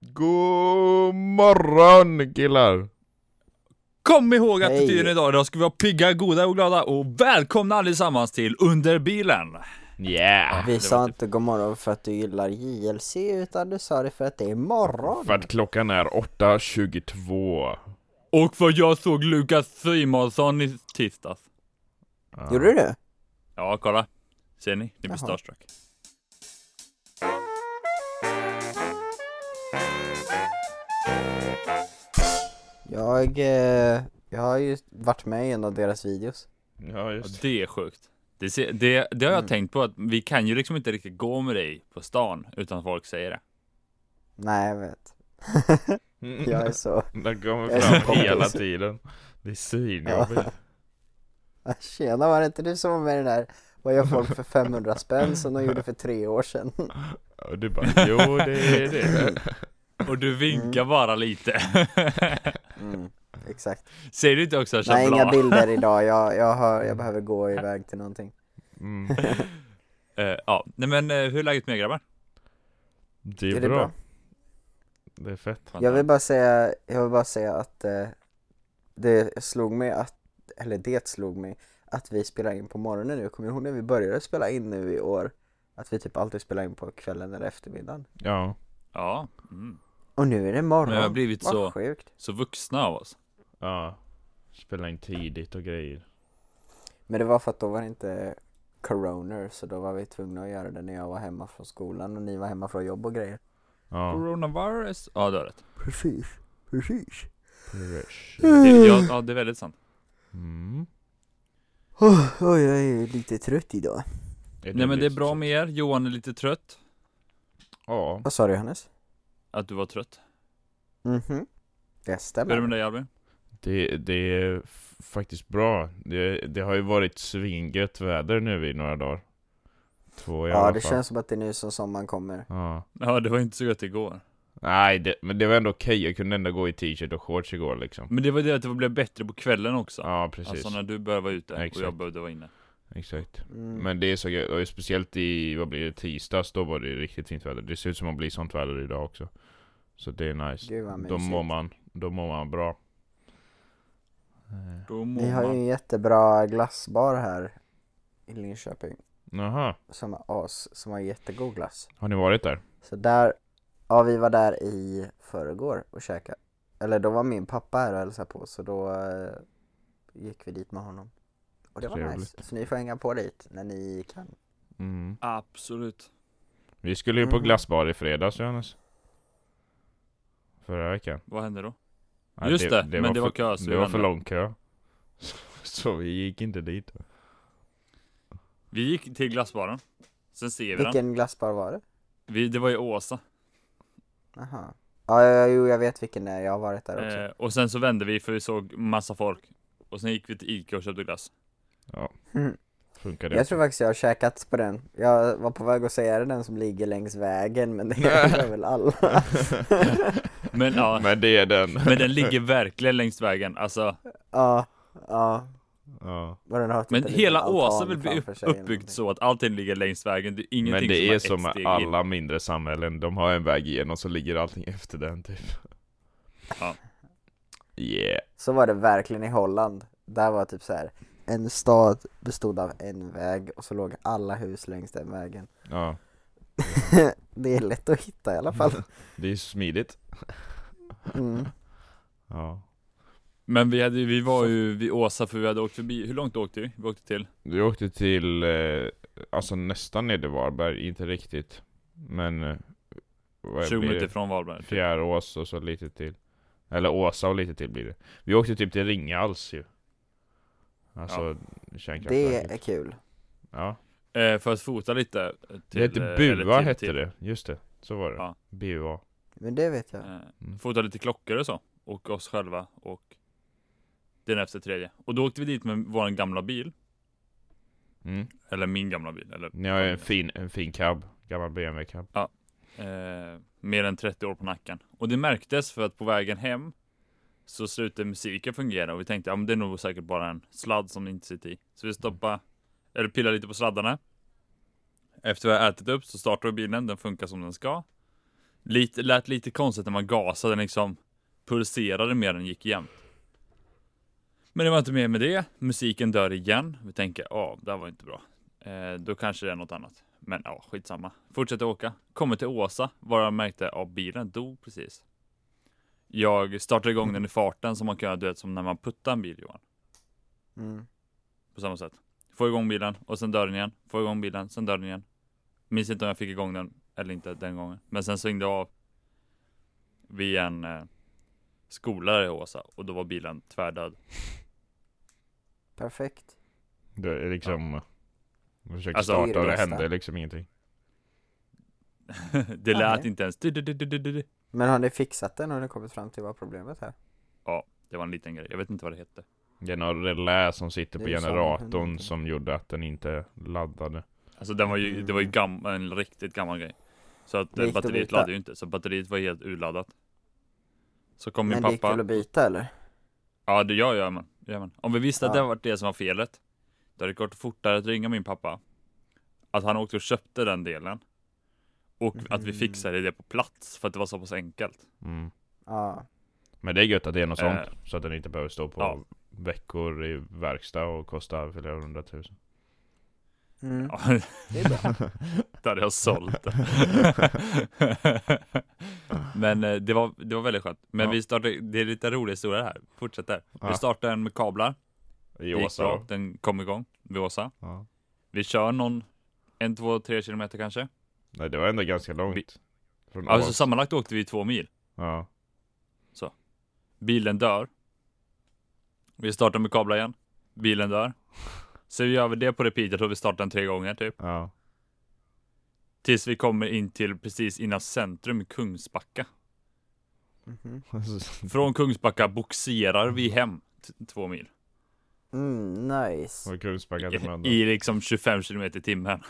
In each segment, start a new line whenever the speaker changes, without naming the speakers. God morgon killar!
Kom ihåg
Hej.
attityden idag. Idag ska vi vara pigga, goda och glada och välkomna allesammans till Under bilen.
Yeah!
Vi sa inte god morgon för att du gillar JLC utan du sa det för att det är morgon.
För att klockan är 8.22
Och för jag såg Lukas Simonsson i tisdags.
Ja.
Gjorde du det?
Ja, kolla. Ser ni? Ni blir
Jaha.
starstruck.
Jag, eh, jag har ju varit med i en av deras videos.
Ja
Ja,
just det.
det är sjukt. Det, ser, det, det
Mm.
har jag tänkt på att vi kan ju liksom inte riktigt gå med dig på stan utan att folk säger det.
Nej jag vet.
Mm,
Jag är så,
Den
jag är
kommer
så
fram
kompis.
hela tiden Det är svinjobbigt
tjena var det inte du som var med i den där Vad gör folk för 500 spänn som de gjorde för tre år sedan?
Och du bara jo det är det
Och du vinkar bara lite.
Mm, exakt.
Säger du inte också
Nej inga
Chablas?
bilder idag, jag, jag, har, jag behöver gå iväg till någonting.
mm.
Eh, ja, nej men eh, hur är läget med er grabbar?
Det är,
Är det
bra.
bra?
Det är fett
Jag vill bara säga, jag vill bara säga att eh, det slog mig att, eller det slog mig, att vi spelar in på morgonen nu. Kommer du ihåg när vi började spela in nu i år? Att vi typ alltid spelar in på kvällen eller eftermiddagen.
Ja
Ja, mm.
Och nu är det morgon.
Men jag har blivit
Vad
så-
sjukt.
så vuxna av oss.
Ja Spela in tidigt och grejer
Men det var för att då var det inte corona så då var vi tvungna att göra det när jag var hemma från skolan och ni var hemma från jobb och grejer.
Ja
Coronavirus. Ja, du har rätt.
Precis, precis.
Rush.
Det, ja, ja, det är väldigt sant.
Mm.
Oh, oj, jag är lite trött idag.
Är du
Nej men det är
lite
bra
trött?
med er, Johan är lite trött
Ja
Vad sa du Johannes?
Att du var trött
Mhm. Det
Hur är det
stämmer.
med dig Albin?
Det, det är f- faktiskt bra. Det, det har ju varit svingött väder nu i några dagar. Två i
Ja,
alla
det
fall.
känns som att det är nu som sommaren kommer.
Ja.
Ja det var inte så gött igår
Nej, det, men det var ändå okej. Jag kunde ändå gå i t-shirt och shorts igår
Mm.
liksom.
Men det var det att det blev bättre på kvällen också
Ja, precis.
Alltså när du började vara ute och
Exakt.
jag behövde vara inne
Exakt.
Mm.
Men det är så gött. Och speciellt i, vad blir det, tisdags? Då var det riktigt fint väder. Det ser ut som att bli sånt väder idag också. Så det är nice.
Gud vad
Då
mysigt.
mår man, då mår man bra. Eh,
Då
Ni
mår
har ju
man
en jättebra glassbar här i Linköping
Jaha,
som är as, som har jättegod glass.
har ni varit där?
Så där, ja vi var där i förrgår och käkade. Eller då var min pappa här och hälsade på så då eh, gick vi dit med honom. Och det var nice.
Trevligt.
Så ni får hänga på dit när ni kan.
Mm.
Absolut
Vi skulle ju på
Mm.
Mhm.
glassbar i fredags Johannes Förra veckan
Vad hände då?
Nej,
Just det, men det var
för,
kö så vi
Det var
vände.
för lång kö Så vi gick inte dit
Vi gick till glassbaren Sen ser vi den
Vilken glassbar var det?
vi, Det var ju Åsa
Aha. Ja, ja, jo jag vet vilken det är, jag har varit där också.
eh, Och sen så vände vi för vi såg massa folk Och sen gick vi till Ica och köpte glass
Ja
Mm.
Funkar det?
Jag tror faktiskt jag har käkat på den. Jag var på väg att säga är det den som ligger längs vägen men det är väl alla.
Men ja,
Men det är den
men den ligger verkligen längs vägen Alltså
Ja, ja.
ja.
Vad den har typ
Men
en
hela
liten
Åsa
altan
vill bli
framför
upp,
sig eller
uppbyggt
någonting.
så att allting ligger längs vägen. Det är ingenting
Men det är som
ett
med
steg
alla mindre samhällen De har en väg igenom så ligger allting efter den typ
Ja.
Yeah
Så var det verkligen i Holland. Där var typ så här en stad bestod av en väg och så låg alla hus längs den vägen.
Ja
det är lätt att hitta i alla fall.
Det är smidigt
Mm.
Ja
in. Men vi, hade, ju- vi var ju vid Åsa för vi hade åkt förbi. Hur långt åkte vi? Vi åkte till.
Vi åkte till, eh, alltså nästan ner till Varberg, inte riktigt. Men... eh, Vad
20
blir
minuter
det?
från Varberg.
Fjärås och så lite till. Eller Åsa och lite till blir det. Vi åkte typ till Ringals ju. Alltså
Det
kärnkraftverket.
är kul.
Ja.
Eh, för att fota lite. Till,
Det hette
eh,
Bua
eller till-
hette
till-
det, just det. Så var det.
Ja.
Bua.
Men det vet jag.
Eh,
Mm.
fota lite klockor och så. Och oss själva och den efter tredje. Och då åkte vi dit med vår gamla bil.
Mm.
Eller min gamla bil. Eller,
Ni har ju en fin, en fin cab. Gammal BMW cab.
eh, mer än 30 år på nacken. Och det märktes för att på vägen hem så slutade musiken fungera och vi tänkte ja men det är nog säkert bara en sladd som det inte sitter i. Så vi stoppade, eller pillade lite på sladdarna. Efter vi har ätit upp så startar vi bilen, den funkar som den ska. lite, lät lite konstigt när man gasade, den liksom pulserade mer än gick jämnt. Men det var inte mer med det. Musiken dör igen. Vi tänker, ja, det här var inte bra. Eh, då kanske det är något annat. Men ja, skitsamma. Fortsätter åka. Kommer till Åsa, var jag märkte, ja, bilen dog precis. Jag startar igång den i farten som man kan göra, du vet, som när man puttar en bil, Johan
Mm.
på samma sätt. Får igång bilen och sen dör den igen. Får igång bilen, sen dör den igen. Minns inte om jag fick igång den eller inte den gången. Men sen svingde jag av vid en eh, skola där i Åsa och då var bilen tvärdöd.
Perfekt.
Det är liksom... Jag försöker
Alltså,
starta och
det är
det
det bästa.
hände liksom ingenting.
det lät
Okej.
inte ens. Du, du, du, du, du, du.
Men har ni fixat den? Har ni kommit fram till vad problemet är?
Det var en liten grej. Jag vet inte vad det hette.
Det är någon relä som sitter
Det
på
är ju samma
generatorn
hundra.
som gjorde att den inte laddade.
Alltså den var ju, det var ju
Mm.
gam, en riktigt gammal grej. Så att
Det
eh,
gick att
batteriet
byta.
laddade ju inte. Så batteriet var helt urladdat. Så kom min
Men det gick
pappa.
väl att byta eller?
Ja, det gör jag men. Gör man. Om vi visste att
Ja.
det var det som var felet, då hade det gått fortare att ringa min pappa. Att han åkte och köpte den delen. Och att vi
Mhm.
fixade det på plats för att det var så pass enkelt.
Mm.
Ja.
Men det är gött att det är något
Eh.
sånt. Så att den inte behöver stå på
Ja.
veckor i verkstad och kosta flera hundratusen.
Mm.
Ja,
Det är bra.
då hade jag sålt den. Men eh, det var, det var väldigt skönt. Men
Ja.
vi startade, det är lite rolig historia det här. Fortsätt där.
Ja.
Vi startade den med kablar.
I
Det gick
Åsa
bra.
då.
Den kom igång vid Åsa.
Ja.
Vi kör någon, en, två, tre kilometer kanske.
Nej det var ändå ganska långt. Från
Alltså
Ås-
sammanlagt åkte vi två mil.
ja.
Bilen dör. Vi startar med kablar igen. Bilen dör. Så vi gör vi det på repeat. Jag tror vi startar den tre gånger typ.
Ja.
Tills vi kommer in till precis innan centrum i Kungsbacka.
Mhm.
Från Kungsbacka boxerar vi hem t- två mil.
Mm, nice.
Från Kungsbacka till Mölndal.
I liksom 25 kilometer i timmen.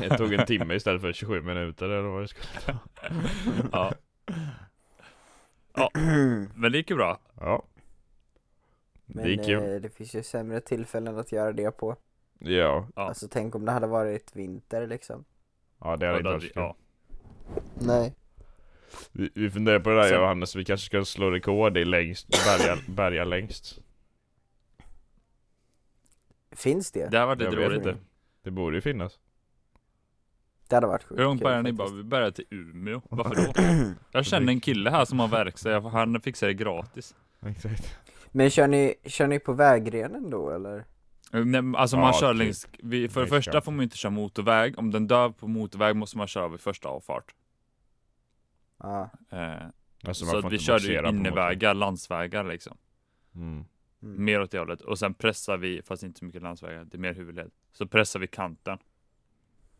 Det tog en timme istället för 27 minuter eller vad det skulle ta.
Ja, men det gick ju bra.
Ja.
Men
det gick ju.
eh, det finns ju sämre tillfällen att göra det på.
Ja.
Ja.
Alltså tänk om det hade varit vinter liksom.
Ja det
Ja,
hade
då
inte
hade
varit
vi-
så
ja.
kul.
Nej.
Vi, vi funderar på det där
Sen-
jag och Hannes, vi kanske ska slå rekord i längst, bärga, bärga längst.
Finns det?
Det här varit
Jag
lite
vet
roligt.
inte. Det borde ju finnas.
Det hade varit sjukt
Hur långt
kul,
bärgar ni? Bara,
faktiskt.
vi bärgar till Umeå. Varför då? Jag känner en kille här som har verkstad. Jag- Han fixar det gratis.
Exakt.
Men kör ni, kör ni på vägrenen då eller?
Nej, men alltså man
Ja,
kör
typ.
längs, vi, för det
Nej,
första
kör.
får man ju inte köra motorväg, om den dör på motorväg måste man köra vid första avfart.
Ja.
Eh,
Alltså, man
så
får
att vi
inte
körde
boxera
ju
på motorn.
innevägar, landsvägar liksom.
Mm.
Mm.
Mer åt det hållet. Och sen pressar vi, fast inte så mycket landsvägar, det är mer huvudled. Så pressar vi kanten,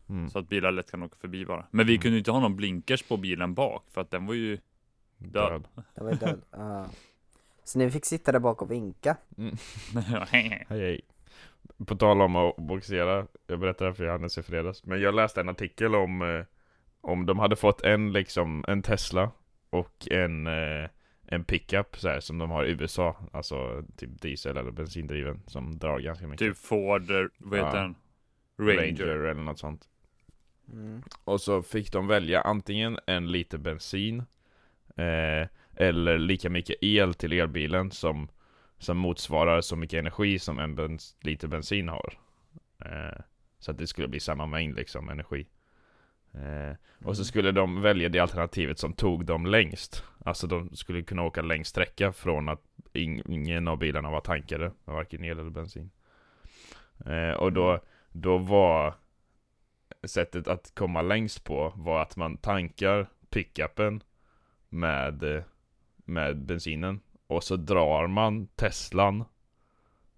Mm.
så att bilar lätt kan åka förbi bara. Men vi
Mm.
kunde ju inte ha någon blinkers på bilen bak, för att den var ju, död.
Död.
Den var ju död. Ja. Så ni fick sitta där bak och vinka?
Mm. Hej hej. På tal om att boxera, jag berättade för Johannes i fredags, men jag läste en artikel om eh, om de hade fått en liksom, en Tesla och en, eh, en pickup så här, som de har i USA, alltså typ diesel eller bensindriven som drar ganska mycket.
typ Ford, eh, vad heter
Ja.
den?
Ranger.
Ranger.
eller något sånt.
Mm.
Och så fick de välja antingen en liter bensin eh, eller lika mycket el till elbilen som, som motsvarar så mycket energi som en bens, liter bensin har. Eh, så att det skulle bli samma mängd liksom energi. Eh, och så skulle de välja det alternativet som tog dem längst. Alltså de skulle kunna åka längst sträcka från att ing- ingen av bilarna var tankade med varken el eller bensin. Eh, och då, då var sättet att komma längst på var att man tankar pickupen med, eh, med bensinen och så drar man Teslan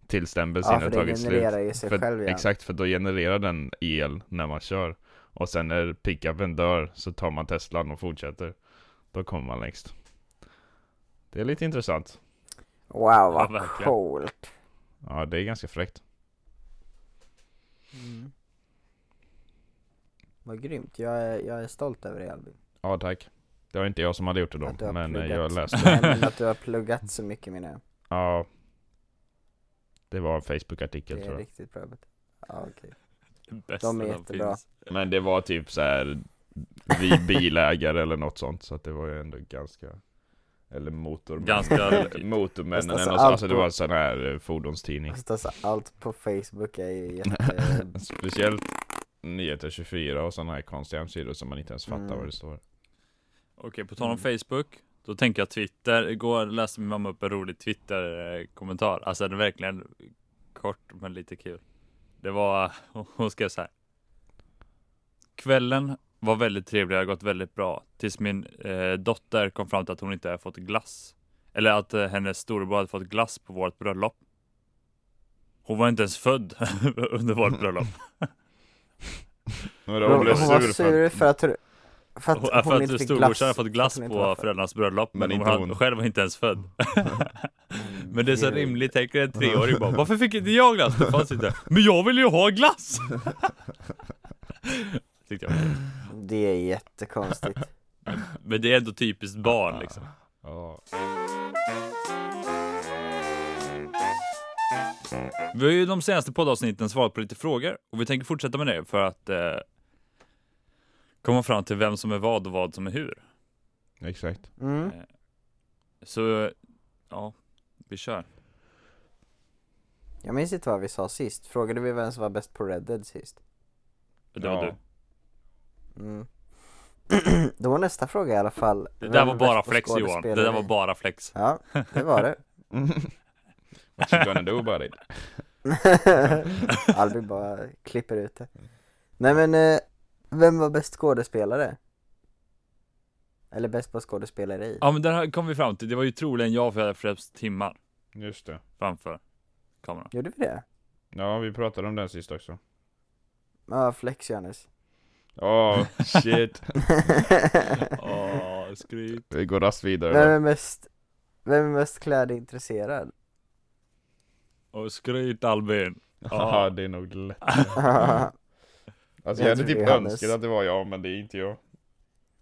tills den
Ja
bensinen
för det
tagit slut.
genererar ju sig
För-
själv igen.
Exakt, för då genererar den el när man kör. Och sen när pickupen dör så tar man Teslan och fortsätter. Då kommer man längst. Det är lite intressant.
Wow vad
verkligen.
coolt.
Ja, det är ganska fräckt.
Mm. Vad grymt, jag är, jag är stolt över dig Albin.
Ja, tack. Det var inte jag som hade gjort det
Att
då,
du har
men eh,
pluggat.
jag läste.
Nej, men att du har pluggat så mycket menar jag.
Ja. Det var en
Det
Facebook-artikel tror
är
jag.
riktigt bra. bet- Ja okej.
Det bästa
De är
som
jättebra.
finns.
Men det var typ så här vi bilägare eller något sånt, så att det var ju ändå ganska eller motormän.
Ganska
eller motormännen
Fast alltså
eller något,
allt
alltså det
på-
var en sån här eh, fordonstidning.
Fast alltså allt på Facebook är ju jätte...
Speciellt Nyheter 24 och sådana här konstiga hemsidor som man inte ens fattar
Mm.
vad det står.
Okej, på tal om Facebook. Då tänker jag Twitter. Igår läste min mamma upp en rolig Twitter-kommentar. Alltså den är verkligen kort men lite kul. Det var, hon skrev så här. Kvällen var väldigt trevlig, har gått väldigt bra. Tills min eh, dotter kom fram till att hon inte har fått glass. Eller att eh, hennes storebror hade fått glass på vårt bröllop. Hon var inte ens född under vårt bröllop.
Men då
Hon, hon
blev jag sur
var
för att-
sur för att, hon- för att
Hon-
hon,
äh, för
inte
att
fick
storbrorsan hade
glass.
fått glass
För att hon inte
på
var född.
föräldrarnas bröllop men,
Men
hon,
inte
hade-
hon.
själv var inte ens född. men det är så rimligt, tänker en treåring bara Varför fick inte jag glass? Det fanns inte. Men jag ville ju ha glass! Tyckte jag. var kul.
Det är jättekonstigt.
Men det är ändå typiskt barn liksom.
Ja.
Vi har ju de senaste poddavsnitten svarat på lite frågor och vi tänker fortsätta med det för att eh, komma fram till vem som är vad och vad som är hur. Eh,
Exakt.
Mm.
Så ja, vi kör.
Jag minns inte vad vi sa sist. Frågade vi vem som var bäst på Red Dead sist?
Det var
Ja.
du.
Mm. Då var nästa fråga i alla fall.
Det
vem
där
är
var
bäst
bara
på
flex Johan. Det där
skådespeleri?
var bara flex.
Ja, det var det.
What you gonna do about it?
Albin bara klipper ut det. Nej men, eh, vem var bäst skådespelare? Eller bäst på skådespeleri?
Ja men där här kom vi fram till, det var ju troligen jag för jag hade flest timmar
Just det.
framför kameran.
Gjorde vi det?
Ja, vi pratade om den sist också.
Ja, flex Johannes.
Åh, shit.
Åh, skryt.
Vi går rast vidare.
Vem är mest, vem är mest klädintresserad?
Och skryt Albin.
Ja, det är nog lätt. Alltså
Jag
jag hade
tror det
typ
är Hannes.
önskat att det var jag, men det är inte jag.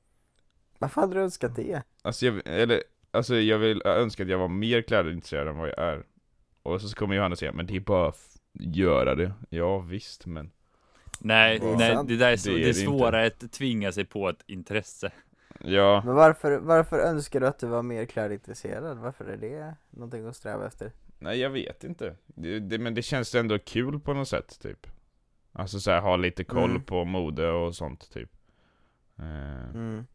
Varför hade du önskat det?
Alltså jag, eller, alltså jag vill jag önskar att jag var mer klädintresserad än vad jag är. Och så kommer Johannes säga, men det är bara att f- göra det. Ja visst, men
Nej,
Det är
nej
sant.
det där är, så,
Det
det
är
är,
det
svårare att tvinga sig på ett intresse.
ja.
Men varför, varför önskar du att du var mer klädintresserad? Varför är det någonting att sträva efter?
Nej jag vet inte. Det, det, men det känns ändå kul på något sätt typ. Alltså så här, ha lite koll
Mm.
på mode och sånt typ. Eh,
Mm.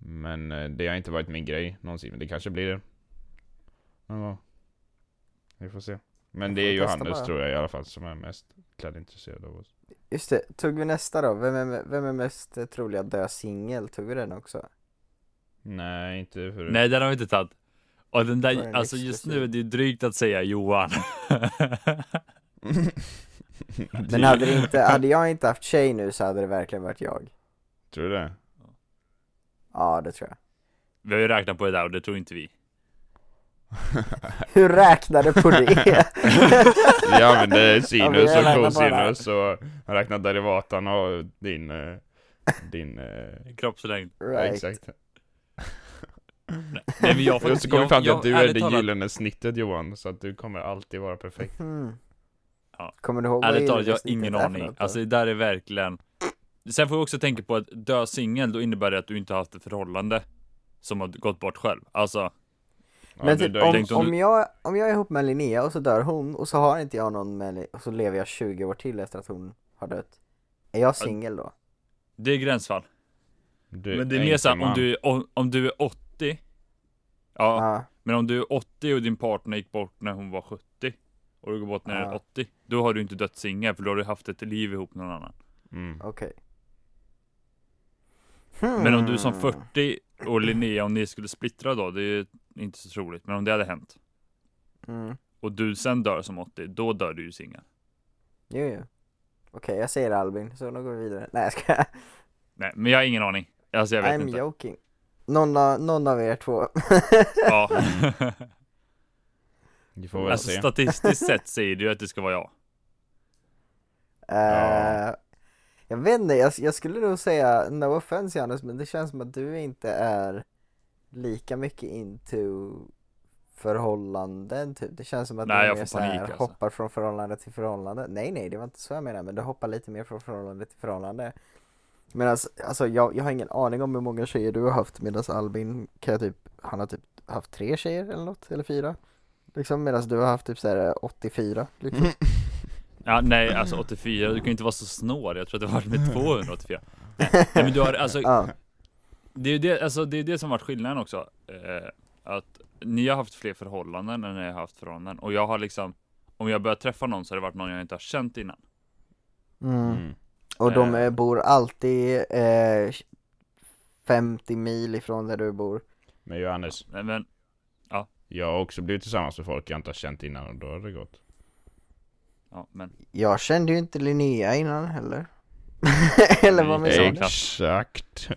Men eh, det har inte varit min grej någonsin, men det kanske blir det. Men vad? Vi får se. Men det är
Jag får testa
Johannes
bara.
tror jag i alla fall som är mest klädintresserad av oss.
Just det, tog vi nästa då? Vem är, vem är mest eh, trolig att dö singel? Tog vi den också?
Nej, inte förut.
Nej den har vi inte tagit. Och den
Vad är
där,
den
alltså just
exklusiv?
nu är det ju drygt att säga Johan.
Men hade, det inte, hade jag inte haft tjej nu så hade det verkligen varit jag.
Tror du det?
Ja, det tror jag.
Vi har ju räknat på det där och det tror inte vi.
Hur räknade på det?
ja men det är
Ja, men
sinus
jag räknar
och
på det här.
cosinus och han räknar derivatan och din... eh, Din... eh,
Kroppslängd.
Right.
Exakt.
Nej men jag får
Och så kommer vi fram till att du är
ärligt
det
talat-
gyllene snittet Johan, så att du kommer alltid vara perfekt.
Hmm.
Ja.
Kommer du ihåg vad
Ärligt talat, jag har
genomsnittet
ingen
är för
aning.
något då?
Alltså det där är verkligen... Sen får vi också tänka på att dö singel, då innebär det att du inte har haft ett förhållande som har gått bort själv. Alltså,
Ja,
Men
du
typ,
dör ju
jag
om,
inte.
tänkte om
om,
du-
jag, om jag är ihop med Linnea och så dör hon och så har inte jag någon med och så lever jag 20 år till efter att hon har dött. Är jag singel då?
det är gränsfall.
Du
men det är mer
inte
såhär, om
man.
du, om, om du är 80. Ja,
Ja.
men om du är 80 och din partner gick bort när hon var 70. Och du går bort när du är
Ja.
80. Då har du inte dött singel, för då har du haft ett liv ihop med någon annan.
Mm.
Okej.
Men om du som
Hmm.
40 och Linnea, om ni skulle splittra då, det är ju inte så troligt. Men om det hade hänt.
Mm.
Och du sen dör som 80, då dör du ju singel.
Jo, jo. Okej, jag säger Albin, så nu går vi vidare. Nej, jag ska
Nej, men jag har ingen aning. Alltså jag vet
I'm
inte.
joking. Någon av, någon av er två.
Ja.
Vi får väl
alltså
se.
statistiskt sett säger du att det ska vara jag.
Ja.
Eh, Jag vet inte, jag, jag skulle nog säga no offense Johannes men det känns som att du inte är lika mycket into förhållanden typ. Det känns som att
Nej,
du
jag
mer
får
så här
panik, alltså.
hoppar från förhållande till förhållande. Nej nej, det var inte så jag menade men du hoppar lite mer från förhållande till förhållande. Men alltså, alltså jag, jag har ingen aning om hur många tjejer du har haft medan Albin kan jag typ, han har typ haft tre tjejer eller något, eller fyra. Liksom medan du har haft typ såhär 84 liksom.
Ja, nej, alltså
Mm.
84, du kan ju inte vara så snål. Jag tror att det har varit med 284. Nej, nej, men du har, alltså,
Ja,
det är ju det, alltså, det, är det som varit skillnaden också. Eh, att ni har haft fler förhållanden än jag har haft förhållanden. Och jag har liksom, om jag börjar träffa någon så har det varit någon jag inte har känt innan.
mm.
Mm.
Och de
Eh.
eh, bor alltid eh, 50 mil ifrån där du bor.
Men Johannes,
Men, men
jag har också blivit tillsammans med folk jag inte har känt innan och då har det gått.
ja, men.
Jag kände ju inte Linnea innan heller. eller vad
Nej,
menar
jag-
du?
Exakt.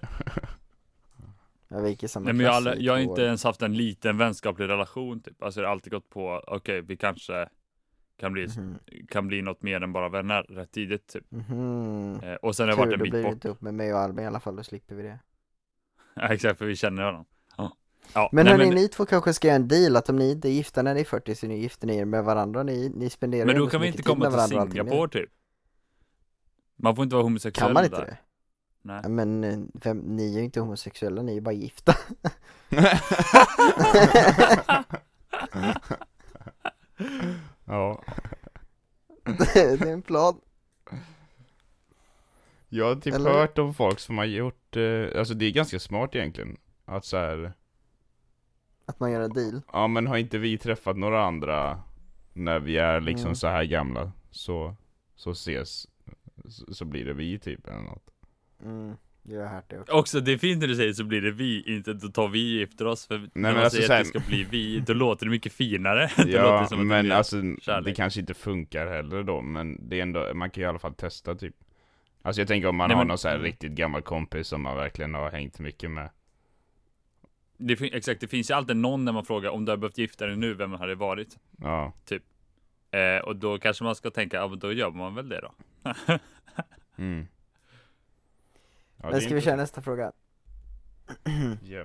Ja, vi gick i samma
Nej, men jag, har
klass
aldrig-
i
jag har
två
inte
år.
ens haft en liten vänskaplig relation typ. Alltså det har alltid gått på, okej vi kanske kan bli,
Mhm.
kan bli något mer än bara vänner rätt tidigt typ.
Mhm.
Eh, och sen har jag
Tur,
varit
då
en bit
blir du
bort.
inte upp med mig och Albin i alla fall, då slipper vi det.
Ja, exakt, för vi känner varandra. Ja. Ja,
Men
nej,
hörni, ni två kanske ska göra en deal att om ni inte är gifta när ni är 40 så ni gifter ni er med varandra, ni, ni spenderar
men
ju
då
ändå så
kan vi
mycket
inte
tid med
komma till
varandra och allting mer.
Singapore typ. Man får inte vara homosexuell
Kan man inte
där.
det?
Nej.
Ja, Men eh, vem, ni är ju inte homosexuella, ni är ju bara gifta.
ja.
det är en plan.
Jag har typ
Eller?
hört om folk som har gjort, eh, alltså det är ganska smart egentligen. Att så här,
Att man gör en deal.
ja men har inte vi träffat några andra när vi är liksom
Mm.
så här gamla så, så ses, så, så blir det vi typ eller något.
Mm, jag har hört det också.
Också det är fint när du säger så blir det vi, inte då tar vi gifter oss. För när
men
man
alltså
säger
så
att det
här-
ska bli vi, då låter det mycket finare. då låter det
ja
som att det
men
blir...
alltså det
kärlek.
kanske inte funkar heller då men det är ändå, man kan ju i alla fall testa typ. Alltså jag tänker om man
Nej,
har
men-
någon så här
mm.
riktigt gammal kompis som man verkligen har hängt mycket med.
det, fin- exakt, det finns ju alltid någon när man frågar om du hade behövt gifta dig nu, vem hade det varit?
Ja.
Eh, och då kanske man ska tänka, ja men då gör man väl det då.
Mm. Ja, det är
Men ska vi köra
intressant.
nästa fråga?
Ja.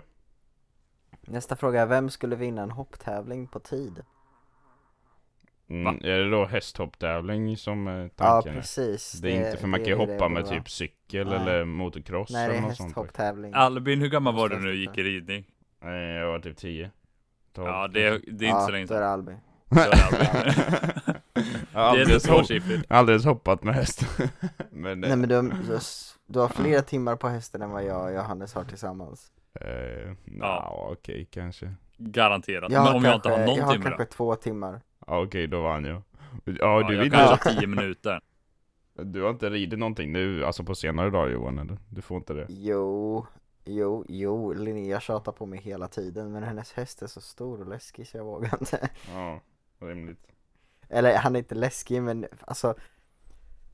Nästa fråga är, vem skulle vinna en hopptävling på tid?
Mm, är det då hästhopptävling som är
Ja,
tanken? är?
precis.
det är inte för man
det
kan ju
är det
hoppa
det
med
borde vara.
typ cykel
Nej.
eller motocross
Nej, det är
eller något sånt. typ.
hästhopptävling.
Albin, hur gammal var du när
Måste
du
jag
gick i ridning?
Nej, jag var typ 10. 12.
Ja, det, är- det är inte så länge
Ja, då är
sedan.
det Albin.
Då är det Albin.
jag har
Det är ändå
alldeles, hopp,
tvåsiffrigt.
alldeles hoppat med häst. men, eh,
Nej men du, du, du har flera timmar på hästen än vad jag och Johannes har tillsammans.
Eh, nja,
Ja.
okej kanske.
Garanterat.
Jag har
men om jag inte har
jag
någon
har
timme då?
kanske två timmar.
Ja, okej, då vann jag. Ja,
Ja,
du,
jag
vet,
kanske har tio minuter.
du har inte ridit någonting nu, alltså på senare dagar Johan eller? Du får inte det.
Jo, jo, jo, Linnea tjatar på mig hela tiden men hennes häst är så stor och läskig så jag vågar inte.
Ja, rimligt.
Eller han är inte läskig men alltså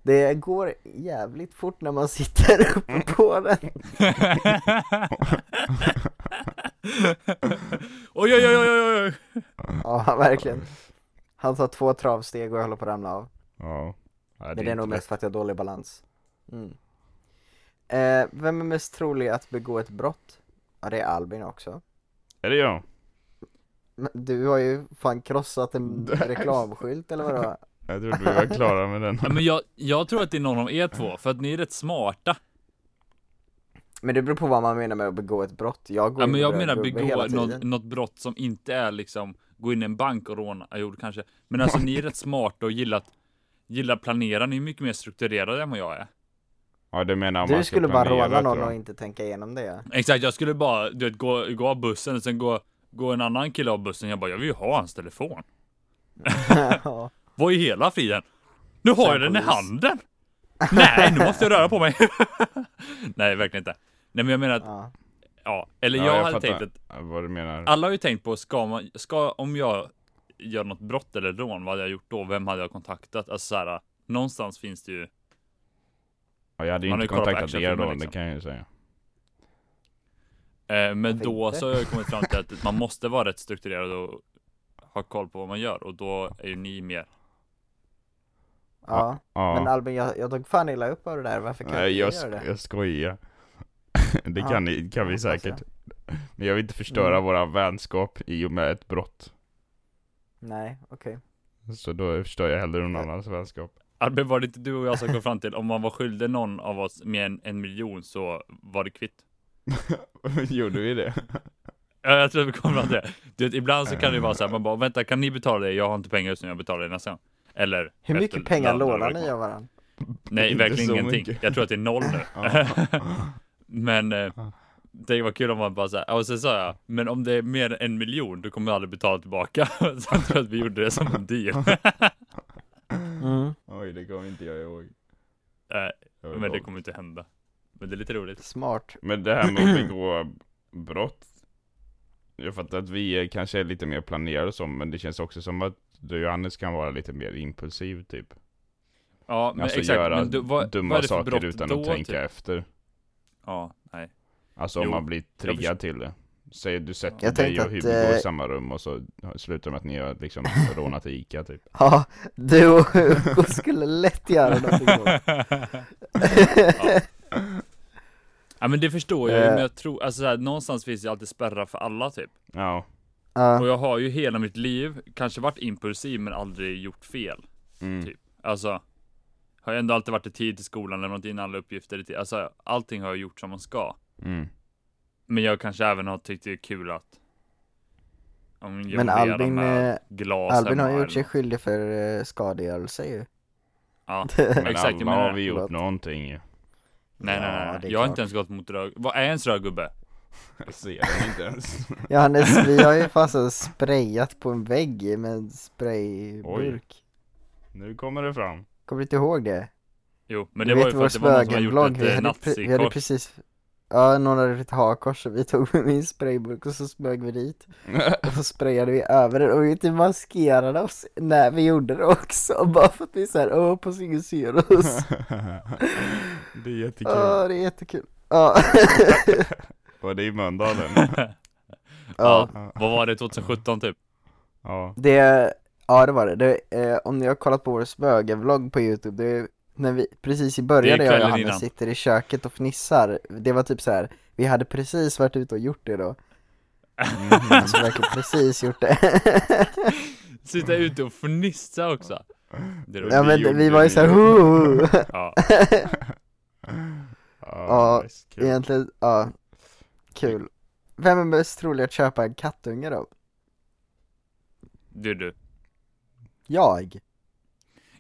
det går jävligt fort när man sitter uppe på den.
oj, oj, oj, oj, oj, oj.
Ja, verkligen. Han tar två travsteg och jag håller på att ramla av.
Ja. ja
Men det är nog
inte
mest för att jag har dålig balans. Mm. Eh, vem är mest trolig att begå ett brott? Ja det är Albin också.
Är det jag?
Men Du har ju fan krossat en reklamskylt eller vad det var.
Jag trodde vi var klara med den.
Ja, men jag, jag tror att det är någon av er två, för att ni är rätt smarta.
Men det beror på vad man menar med att begå ett brott. Jag går
Ja,
in
men
och
jag
drar
menar
gubbe hela
begå
tiden.
något, något brott som inte är liksom gå in i en bank och råna. Ja, Jo, kanske. Men alltså ni är rätt smarta och gillar att gillar att planera. Ni är mycket mer strukturerade än vad jag är.
Ja du menar om man
Du
ska
skulle bara
planera,
råna någon
tror jag.
och inte tänka igenom det. ja.
Exakt, jag skulle bara du vet, gå, gå av bussen och sen gå, gå en annan kille av bussen. Jag bara, jag vill ju ha hans telefon.
ja.
Vad i hela friden? Nu har
Sen
jag den i
polis.
handen! Nej, nu måste jag röra på mig! Nej, verkligen inte. Nej, men jag menar att,
ja.
ja, eller
Ja,
jag,
jag
hade
fattar.
tänkt att,
Ja, Vad du menar?
alla har ju tänkt på, ska man, ska, om jag gör något brott eller rån, vad hade jag gjort då? Vem hade jag kontaktat? Alltså så här, någonstans finns det ju,
Ja, jag hade ju
man har
inte
ju kollat på
kontaktat er då,
actionfilmer, liksom.
det kan jag ju säga.
eh, men
Varför
då
inte?
så har jag kommit fram till att man måste vara rätt strukturerad och ha koll på vad man gör och då är ju ni mer
Ja.
Ja.
Men Albin, jag, jag tog fan illa upp av det där. Varför kan
Nej,
inte
jag,
du göra
sk-
det?
jag skojar. det
Ja, alltså.
kan, ni, kan vi
hoppas jag.
säkert. Men jag vill inte förstöra
Mm.
våra vänskap i och med ett brott.
Nej, okej.
Så då förstör jag hellre någon annans vänskap.
Arbe, var det inte du och jag som kom fram till om man var skyldig någon av oss mer än en miljon så var det kvitt?
Gjorde vi det?
Ja, jag tror vi kom fram till det. Du vet, ibland så kan det ju vara så här,
Eh.
man bara vänta kan ni betala det? Jag har inte pengar just nu, jag betalar det nästa gång. Eller
Hur mycket
efter-
pengar
när- när
lånar
det var
ni
kvar.
av varandra?
Nej,
Inte
verkligen
så
ingenting.
mycket.
Jag tror att det är noll nu.
Ja.
Men eh, det var kul om man bara så här, ja, och sen sa jag, men om det är mer än en miljon, då kommer jag aldrig betala tillbaka. så jag tror att vi gjorde det som en deal.
Mm.
Oj, det kommer inte jag ihåg.
Nej,
Jag var
men det
låg.
kommer inte hända. Men det är lite roligt.
Smart.
Men det här med att begå brott. Jag fattar att vi eh, kanske är lite mer planerade och så, men det känns också som att du Johannes kan vara lite mer impulsiv typ.
Ja, men
alltså
exakt.
göra
men du, vad,
dumma
vad är det för brott
saker utan
då,
att tänka
Typ?
efter.
Ja, nej.
Alltså om
Jo,
man blir
förstår.
triggad till det. Säg du sätter
Jag
dig
tänkte
och
att,
Hugo
eh,
i samma rum och så slutar med att ni har liksom rånat Ica typ.
Ja, du och Hugo skulle lätt göra någonting då.
Ja men det förstår jag ju,
Eh.
men jag tror, alltså så här, någonstans finns det ju alltid spärrar för alla typ.
Ja.
Ja,
Och jag har ju hela mitt liv kanske varit impulsiv men aldrig gjort fel.
Mm.
Typ. Alltså, har jag ändå alltid varit i tid till skolan, lämnat in alla uppgifter i tid. Alltså allting har jag gjort som man ska.
Mm.
Men jag kanske även har tyckt det är kul att ja, men
Men
jonglera
Albin,
med
eh,
glas
Albin
hemma
har gjort
eller
sig
något.
skyldig för eh, skadegörelse ju.
Ja.
Men
Exakt, jag
alla
menar
har
det.
vi gjort
Förlåt.
någonting ju.
Nej, nej, nej,
Ja, det
nej.
är
Jag har
klart.
inte ens gått mot röd. Vad är ens röd gubbe?
Jag ser den inte ens.
Johannes, vi har ju fasen sprayat på en vägg med en sprayburk.
Nu kommer det fram.
Kommer du inte ihåg det?
Jo, men
Du
det var ju
vet
för
vår
att det var någon som hade
spögenblogg,
gjort
vi
ett eh,
hade pre- Vi hade
nazikors.
precis, ja någon hade ett hakkors och vi tog med min sprayburk och så smög vi dit. Och så sprayade vi över den och vi typ maskerade oss när vi gjorde det också. Bara för att vi såhär, åh hoppas ingen ser oss.
det är jättekul.
Ja, det är jättekul. Ja.
Var det i Mölndalen?
ja.
Vad var det, 2017 typ?
Ja.
Det, ja det var det. det eh, om ni har kollat på vår spögenvlogg på youtube, det är när vi, precis i början
Det
när
är
jag och
kvällen
Johannes
innan.
sitter i köket och fnissar, det var typ så här. vi hade precis varit ute och gjort det då. Alltså verkligen precis gjort det.
Sitta ute och fnissa också. Det är roligt.
ja
vi
men
gjorde
vi var ju
det.
såhär, "Hoo!"
Ja.
Ja,
Ja,
nice, kul.
egentligen, ja, kul. Vem är mest trolig att köpa en kattunge då?
Du, du.
Jag?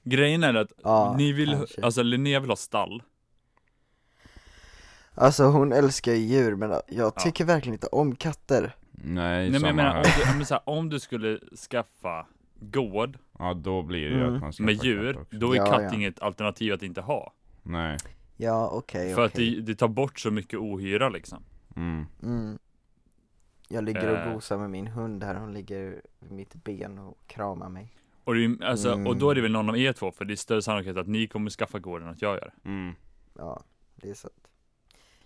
Grejen är att
Ja,
ni vill,
kanske.
alltså Linnea vill ha stall.
Alltså hon älskar ju djur men jag
Ja.
tycker verkligen inte om katter.
Nej,
Nej men
samma
jag menar, om
här.
du, men så här, om du skulle skaffa gård
Ja, då blir det ju
Mm.
att man ska
med
få katt
djur,
också.
då är
Ja,
katt
ja.
inget alternativ att inte ha.
Nej.
Ja okej,
För
okej.
att det, det tar bort så mycket ohyra liksom.
Mm.
Mm. Jag ligger och
Eh.
gosar med min hund här, hon ligger vid mitt ben och kramar mig.
Och, det, är- alltså, och då
Mm.
är det väl någon av er två, för det är större sannolikhet att ni kommer skaffa gården än att jag gör det.
Mm.
Ja, det är sant.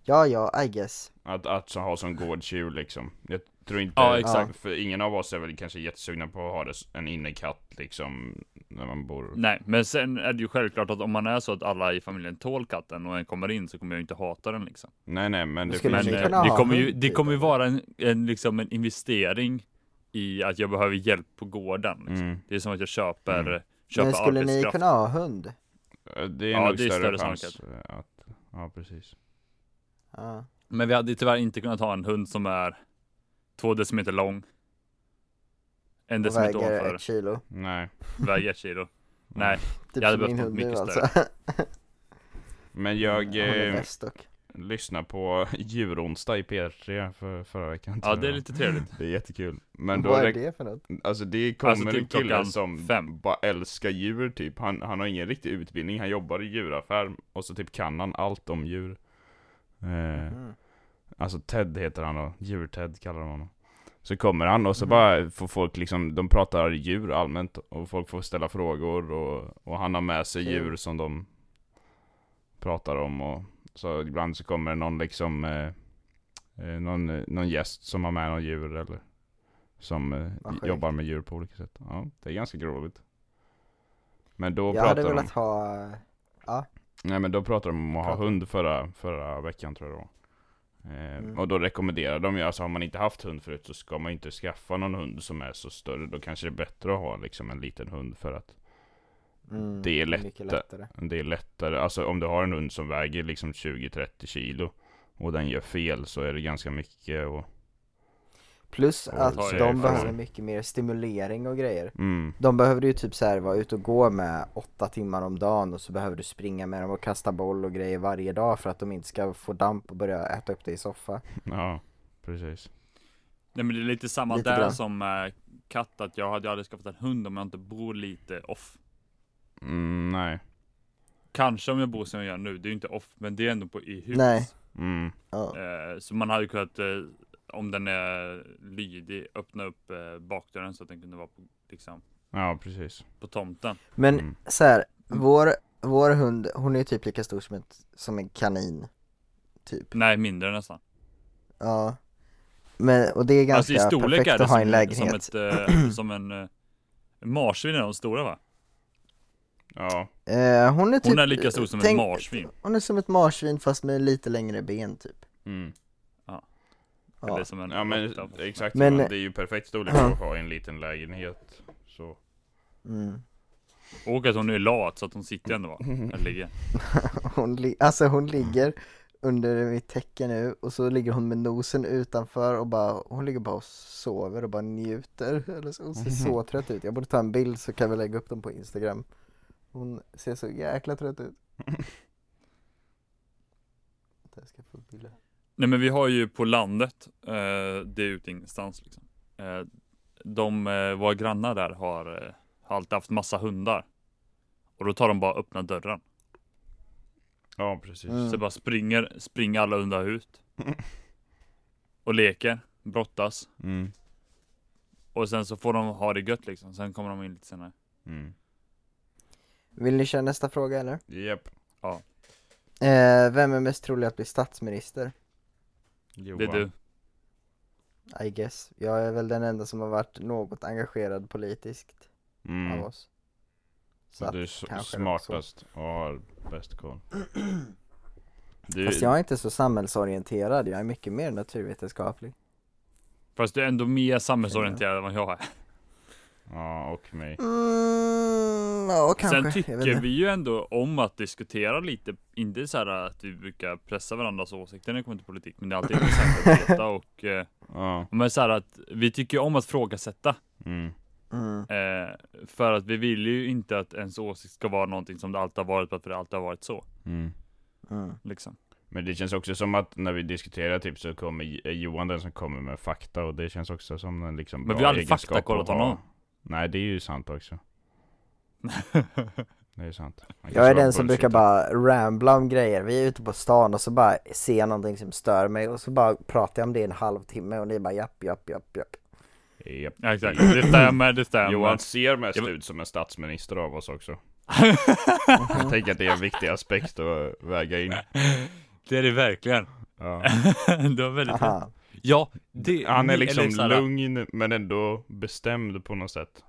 Ja, ja, I guess.
Att, att så ha som gårdsdjur liksom. Jag tror inte...
Ja, exakt.
För ingen av oss är väl kanske jättesugna på att ha det, s- en innekatt liksom, när man bor...
Nej, men sen är det ju självklart att om man är så att alla i familjen tål katten och en kommer in så kommer jag ju inte hata den liksom.
Nej, nej, men det
Skulle
finns
Men
ni
ju...
eh,
kunna
det
ha
kommer ju,
hund
det
typ,
kommer ju
eller?
vara en, en, liksom en investering i att jag behöver hjälp på gården. Liksom.
Mm.
Det är som att jag köper,
Mm.
köper
Men skulle ni
arbetskraft.
kunna ha hund?
Det är
Ja,
nog
det är
större
större
chans att... Ja, precis.
Ja.
Men vi hade ju tyvärr inte kunnat ha en hund som är två decimeter lång. En
Och
decimeter
väger
ovanför,
ett kilo.
Nej.
väger ett kilo. Nej,
Typ
Jag hade
som
behövt
min
något
hund nu
mycket
alltså.
Men jag...
Hon är
Eh,
bäst dock.
lyssna på djuronsdag i P3 för, förra veckan.
ja
tror
det är
jag.
lite trevligt.
det är jättekul. Men då
Vad är
räck-
det för något?
Alltså det kommer
Alltså, typ
en kille
klockan
som
fem.
bara älskar djur typ. Han, han har ingen riktig utbildning, han jobbar i djuraffär och så typ kan han allt om djur. Eh,
Mm.
Alltså Ted heter han då, djur-Ted kallar de honom. Så kommer han
Mhm.
och så bara får folk liksom, de pratar djur allmänt och folk får ställa frågor och, och han har med sig
Kul.
djur som de pratar om och så ibland så kommer det någon liksom eh, eh, någon, eh, någon gäst som har med någon djur eller som eh,
Vad sjukt.
jobbar med djur på olika sätt. Ja, det är ganska roligt. Men då
Jag hade
pratar de,
velat ha,
nej men då pratar de om att ha
Pratar.
hund förra, förra veckan tror jag då. Eh,
Mm.
Och då rekommenderar de ju, alltså har man inte haft hund förut så ska man ju inte skaffa någon hund som är så större. Då kanske det är bättre att ha liksom en liten hund för att
Mm,
Det är
Mycket
lättare.
lättare.
Det är lättare, alltså om du har en hund som väger liksom 20-30 kilo och den gör fel så är det ganska mycket och...
Plus
Och
att
ta er
de
ifrån.
behöver mycket mer stimulering och grejer.
Mm,
De behövde ju typ så här vara ute och gå med åtta timmar om dagen och så behöver du springa med dem och kasta boll och grejer varje dag för att de inte ska få damp och börja äta upp det i soffa.
ja, precis.
Nej men det är lite samma
Lite
där
grann.
som eh, katt, att jag hade aldrig skaffat en hund om jag inte bor lite off.
Mm, nej.
Kanske om jag bor som jag gör nu, det är ju inte off, men det är ändå på, i hus.
Nej.
Mm,
Ja.
Eh, så man hade ju kunnat, eh, om den är lydig, öppna upp eh, bakdörren så att den kunde vara på, liksom,
ja precis.
på tomten.
Men
Mm.
så här, vår, vår hund, hon är typ lika stor som, ett, som en kanin. Typ.
Nej, mindre nästan.
Ja. Men, och det är
Alltså i
ganska
storlek
perfekt
är det
att ha i en
som, som,
lägenhet.
ett, eh, som en eh, marsvin är de stora va?
Ja,
Eh, hon är typ...
Hon är lika stor som ett
tänk-
marsvin.
Hon är som ett marsvin fast med lite längre ben typ.
mm.
Ja.
Eller som en
ja men
råtta.
exakt.
Men-
Men... Det är ju perfekt storlek för att ha i en liten lägenhet. Så.
Mm.
Och att hon är lat så att hon sitter ändå va? Eller ligger.
Hon li- alltså hon
Mm.
ligger under mitt täcke nu och så ligger hon med nosen utanför och bara, hon ligger bara och sover och bara njuter. Eller så, hon ser så
Mhm.
trött ut. Jag borde ta en bild så kan vi lägga upp den på Instagram. Hon ser så jäkla trött ut. Jag ska få bilder.
Nej men vi har ju på landet, eh, det är ute ingenstans liksom. Eh, de, eh, våra grannar där har, eh, har alltid haft massa hundar. Och då tar de bara och öppnar dörren.
Ja, precis.
Mm.
Så bara springer, springer alla hundar ut. Och leker, brottas.
Mm.
Och sen så får de ha det gött liksom. Sen kommer de in lite senare.
Mm.
Vill ni köra nästa fråga eller?
Japp.
Eh, vem är mest trolig att bli statsminister?
Det är du.
I guess. Jag är väl den enda som har varit något engagerad politiskt
Mm.
av oss. Så
Så
att
du är s-
kanske det var så.
smartast och har bäst koll. Du,
Fast jag är inte så samhällsorienterad, jag är mycket mer naturvetenskaplig.
Fast du är ändå mer samhällsorienterad än vad jag är.
Ja, och mig.
Mm, ja kanske.
Sen tycker vi ju ändå om att diskutera lite, inte så här att vi brukar pressa varandras åsikter när det kommer till politik, men det är alltid intressant att veta och eh,
Ja.
men så här att vi tycker ju om att frågasätta
Mm.
Mm.
eh, för att vi vill ju inte att ens åsikt ska vara någonting som det alltid har varit för att det alltid har varit så
Mm.
Mm.
liksom.
Men det känns också som att när vi diskuterar typ så kommer J- eh, Johan den som kommer med fakta och det känns också som en liksom
Men
bra
vi har aldrig
egenskap
faktakollat
att ha.
honom.
Nej, det är ju sant också. Det är sant. Han
Jag
kanske var
är den som brukar
bullshit.
bara rambla om grejer, vi är ute på stan och så bara ser jag någonting som stör mig och så bara pratar jag om det i en halvtimme och ni bara japp, japp, japp, japp.
Japp.
Ja, exakt, det stämmer, det stämmer.
Johan ser mest
Jag-
ut som en statsminister av oss också. Jag tänker att det är en viktig aspekt att väga in.
Det är det verkligen.
Ja.
det var väldigt rätt.
Aha.
Ja, det,
Han är
eller
liksom
så här,
lugn men ändå bestämd på något sätt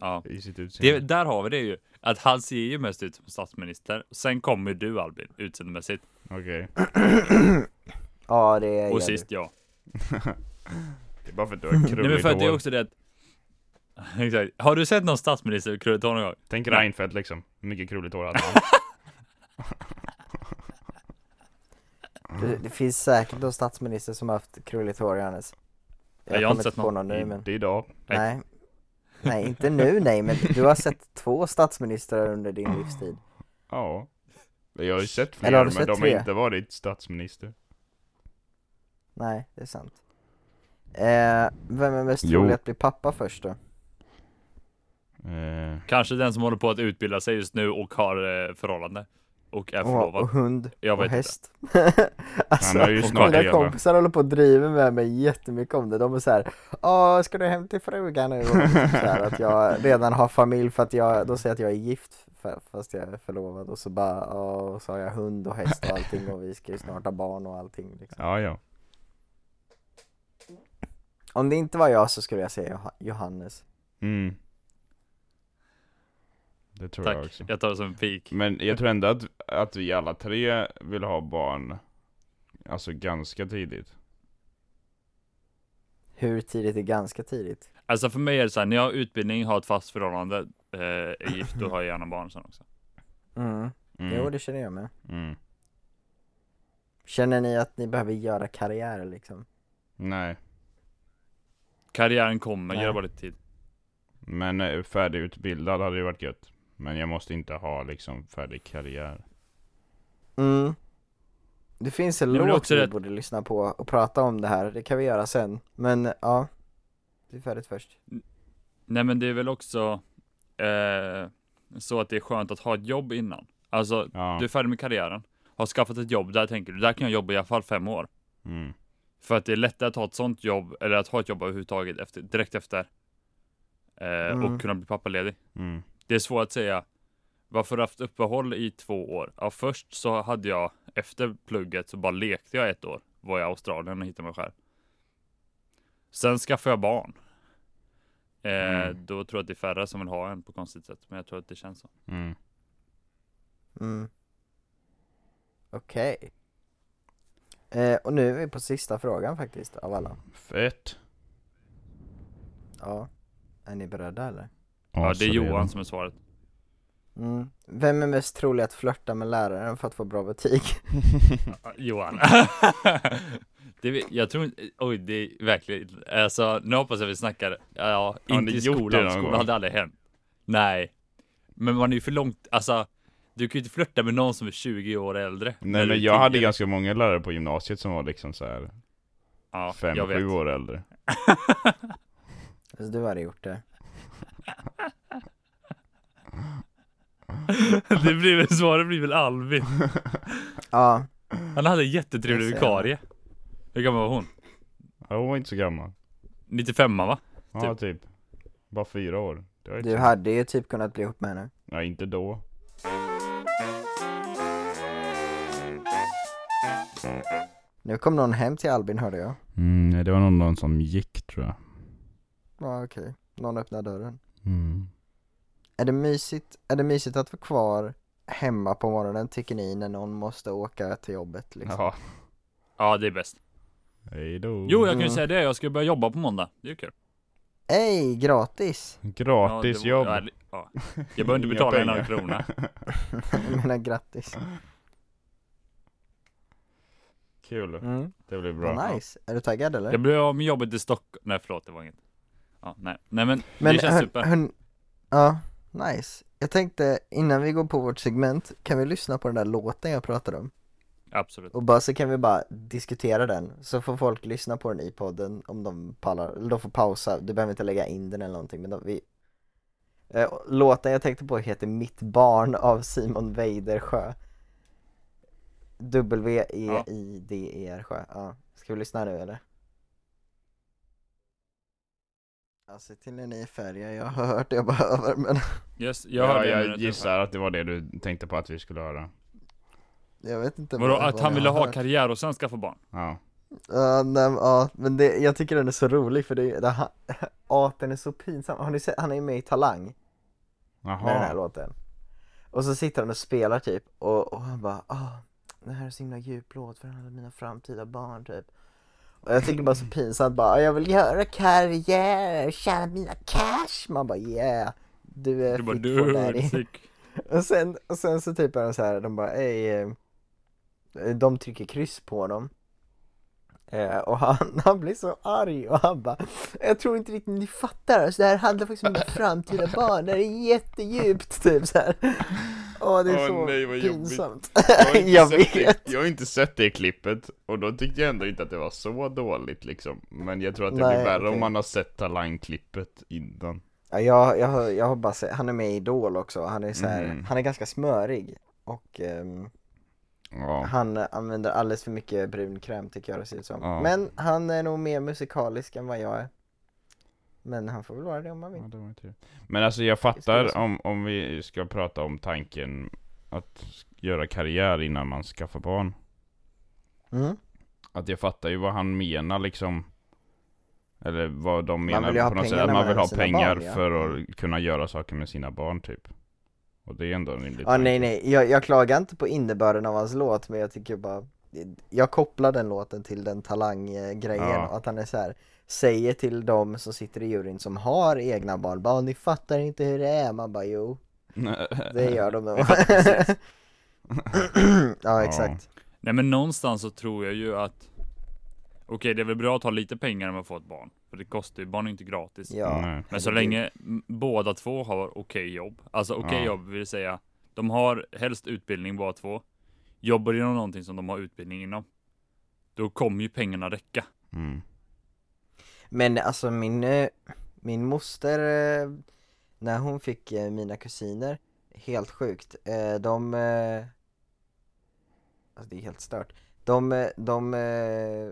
Ja.
i sitt
Det,
utseende.
där har vi det ju. Att han ser ju mest ut som statsminister. Sen kommer du Albin, utseendemässigt.
Okej.
Ja det är
Och
jag.
sist jag.
Det är bara för att du har
Mm. Nej men
krulligt
för att det är
hår.
också det att... Exakt. Har du sett någon statsminister med krulligt hår någon gång?
Tänk
Nej.
Reinfeldt liksom. Hur mycket krulligt hår hade han?
Det, det finns säkert någon statsminister som har haft krulligt hår Johannes.
Nej, jag har
kommer
inte sett
på
någon.
någon nu men...
Inte idag.
Nej.
Nej. Nej, inte nu nej, men du har sett två statsministrar under din livstid.
Ja. Jag har ju sett
Eller
fler
har du
men
sett
de har
tre?
inte varit statsminister.
Nej, det är sant. Eh, vem är mest
Jo.
trolig att bli pappa först då?
Eh,
Kanske den som håller på att utbilda sig just nu och har eh, förhållande. Och är
Och, och
förlovad.
hund
Jag vet
och
inte.
häst. alltså,
Han har ju snart
mina
leva.
kompisar håller på och driver med mig jättemycket om det. De är så här, åh ska du hem till frugan nu? Och liksom så här, att jag redan har familj för att jag, de säger att jag är gift för, fast jag är förlovad. Och så bara, åh, så har jag hund och häst och allting och vi ska ju snart ha barn och allting. Liksom.
ja, ja.
Om det inte var jag så skulle jag säga Joh- Johannes.
Mm. Det tror jag
Tack,
också.
jag tar det som en pik.
Men jag tror ändå att, att vi alla tre vill ha barn, alltså ganska tidigt.
Hur tidigt är ganska tidigt?
Alltså för mig är det så här, när jag har utbildning, har ett fast förhållande, eh, är gift och har gärna barn sen också.
Mm.
Mm.
Jo, det känner jag med.
mm.
Känner ni att ni behöver göra karriär liksom?
Nej,
Karriären kommer,
Nej.
ge det bara lite tid.
men eh, färdigutbildad hade ju varit gött. Men jag måste inte ha liksom färdig karriär.
Mm. Det finns en
Nej, men det är
låt
också
vi
rätt-
borde lyssna på och prata om det här. Det kan vi göra sen. Men ja, det är färdigt först.
Nej men det är väl också eh, så att det är skönt att ha ett jobb innan. Alltså,
Ja.
du är färdig med karriären, har skaffat ett jobb, där tänker du, där kan jag jobba i alla fall fem år.
Mm.
För att det är lättare att ha ett sånt jobb, eller att ha ett jobb överhuvudtaget efter, direkt efter. Eh,
Mm.
Och kunna bli pappaledig.
Mm.
Det är svårt att säga, varför har du haft uppehåll i två år? Ja, först så hade jag, efter plugget så bara lekte jag ett år. Var jag i Australien och hittade mig själv. Sen skaffade jag barn. Eh,
Mm.
Då tror jag att det är färre som vill ha en på konstigt sätt, men jag tror att det känns så.
Mm.
Mm. Okej. Eh, och nu är vi på sista frågan faktiskt av alla.
Fett.
Ja. Är ni beredda eller?
Ja, det är
så
Johan som är svaret.
Mm. Vem är mest trolig att flörta med läraren för att få bra betyg?
Ja, Johan. det, vi- jag tror inte, oj det är verkligen, alltså nu hoppas jag vi snackar, ja,
Har
inte
ni
i
gjort det
skolan,
någon
skolan
gång?
hade aldrig hänt. Nej. Men man är ju för långt, alltså, du kan ju inte flirta med någon som är 20 år äldre.
Nej men jag hade ganska många lärare på gymnasiet som var liksom så här
ja,
fem,
jag vet.
sju år äldre.
Alltså, du hade gjort det.
det blir väl, svaret blir väl Alvin.
Ja.
Han hade en jättetrevlig
Jag ser
vikarie. Hur gammal var hon?
Ja, hon var inte så gammal.
95 va?
Ja, typ. Bara fyra år. Det var inte
Du
så-
hade ju typ kunnat bli ihop med henne.
Ja, inte då.
Nu kom någon hem till Albin hörde jag.
Mm, det var någon, någon som gick tror jag.
Ja okej, någon öppnar dörren.
Mm.
Är det, mysigt, är det mysigt att vara kvar hemma på morgonen tycker ni när någon måste åka till jobbet liksom?
Ja.
Ja det är bäst.
Hejdå.
Jo jag kan ju
Mm.
säga det, jag ska börja jobba på måndag. Det är ju kul.
Ey, gratis!
Ja, det
Gratisjobb.
var- ja, Ja, jag behöver inte
Inga
betala en
pengar.
enda krona.
Jag menar grattis.
Kul.
Mm.
Det blir bra.
Vad nice, är du taggad eller?
Jag blev av med jobbet i Stockholm, nej förlåt det var inget ja, nej. nej men,
Men
det känns
hörn-
super
hörn- ja, nice. Jag tänkte innan vi går på vårt segment, kan vi lyssna på den där låten jag pratade om?
Absolut
Och bara så kan vi bara diskutera den, så får folk lyssna på den i podden om de pallar, eller de får pausa, du behöver inte lägga in den eller någonting men de, vi Eh, och Låten jag tänkte på heter Mitt barn av Simon Weidersjö E W-E-I-D-E-R-sjö, ja. Ska vi lyssna nu eller? Ja, se till när ni är färdiga, jag har hört det jag behöver men
yes, Jag
Ja,
hörde
jag
en minut
gissar att det var det du tänkte på att vi skulle höra.
jag vet inte
ungefär. Vadå
vad-
att
vad
han
jag
ville
har
ha
hört.
karriär och sen skaffa barn?
Ja.
Ja, nej, men, ja, men det, jag tycker den är så rolig för det, det han, ja, den är så pinsam. Har ni sett, han är ju med i Talang med den här
Jaha.
låten. Och så sitter han och spelar typ och, och han bara ah, det här är så himla djup låt för alla mina framtida barn typ. Och jag tycker det är bara så pinsamt bara, jag vill göra karriär, tjäna mina cash. Man bara yeah, du är
Du bara
fit
du
for daddy.
är sick
Och sen, och sen så typ är de så här, de bara ej, eh, de trycker kryss på honom. Eh, och han, han blir så arg och han bara Jag tror inte riktigt ni fattar, alltså, det här handlar faktiskt om mina framtida barn, det här är jättedjupt typ så här. Åh det är
Åh,
så
nej, vad jobbigt.
pinsamt.
Jag har inte
Jag
sett
vet.
Det, jag har inte sett det klippet, och då tyckte jag ändå inte att det var så dåligt liksom. Men jag tror att det
Nej,
blir värre
okej.
om man har sett talangklippet innan.
Ja, jag, jag, har- jag har bara sett, han är med i Idol också, han är så här,
Mm.
han är ganska smörig. Och ehm,
Ja.
han använder alldeles för mycket brun kräm tycker jag det ser ut som.
Ja.
Men han är nog mer musikalisk än vad jag är. Men han får väl vara det om han vill.
Ja, det var inte det. Men alltså jag
skulle
fattar
vara
om, om vi ska prata om tanken att s- göra karriär innan man skaffar barn.
Mm.
Att jag fattar ju vad han menar liksom. Eller vad de menar
vill ju ha
på något sätt.
pengarna
Att man
med
vill ha
sina
pengar
barn, ja.
för att kunna göra saker med sina barn typ. Och det är ändå en rimlig
Ja, nej nej, jag, jag klagar inte på innebörden av hans låt men jag tycker bara jag kopplar den låten till den talanggrejen
Ja.
och att han är så här säger till de som sitter i juryn som har egna barn, bara ni fattar inte hur det är, man bara jo, det gör de nog.
precis.
ja exakt.
Nej men någonstans så tror jag ju att Okej det är väl bra att ha lite pengar när man får ett barn. För det kostar ju, barn är ju inte gratis.
Ja.
Nej.
Men så
herregud.
länge m- båda två har okej jobb, alltså okej
Ja.
jobb vill säga, de har helst utbildning båda två, jobbar inom någonting som de har utbildning inom, då kommer ju pengarna räcka.
Mm.
Men alltså min, eh, min moster, eh, när hon fick eh, mina kusiner, helt sjukt, eh, de, eh, alltså det är helt stört, de, eh, de, eh,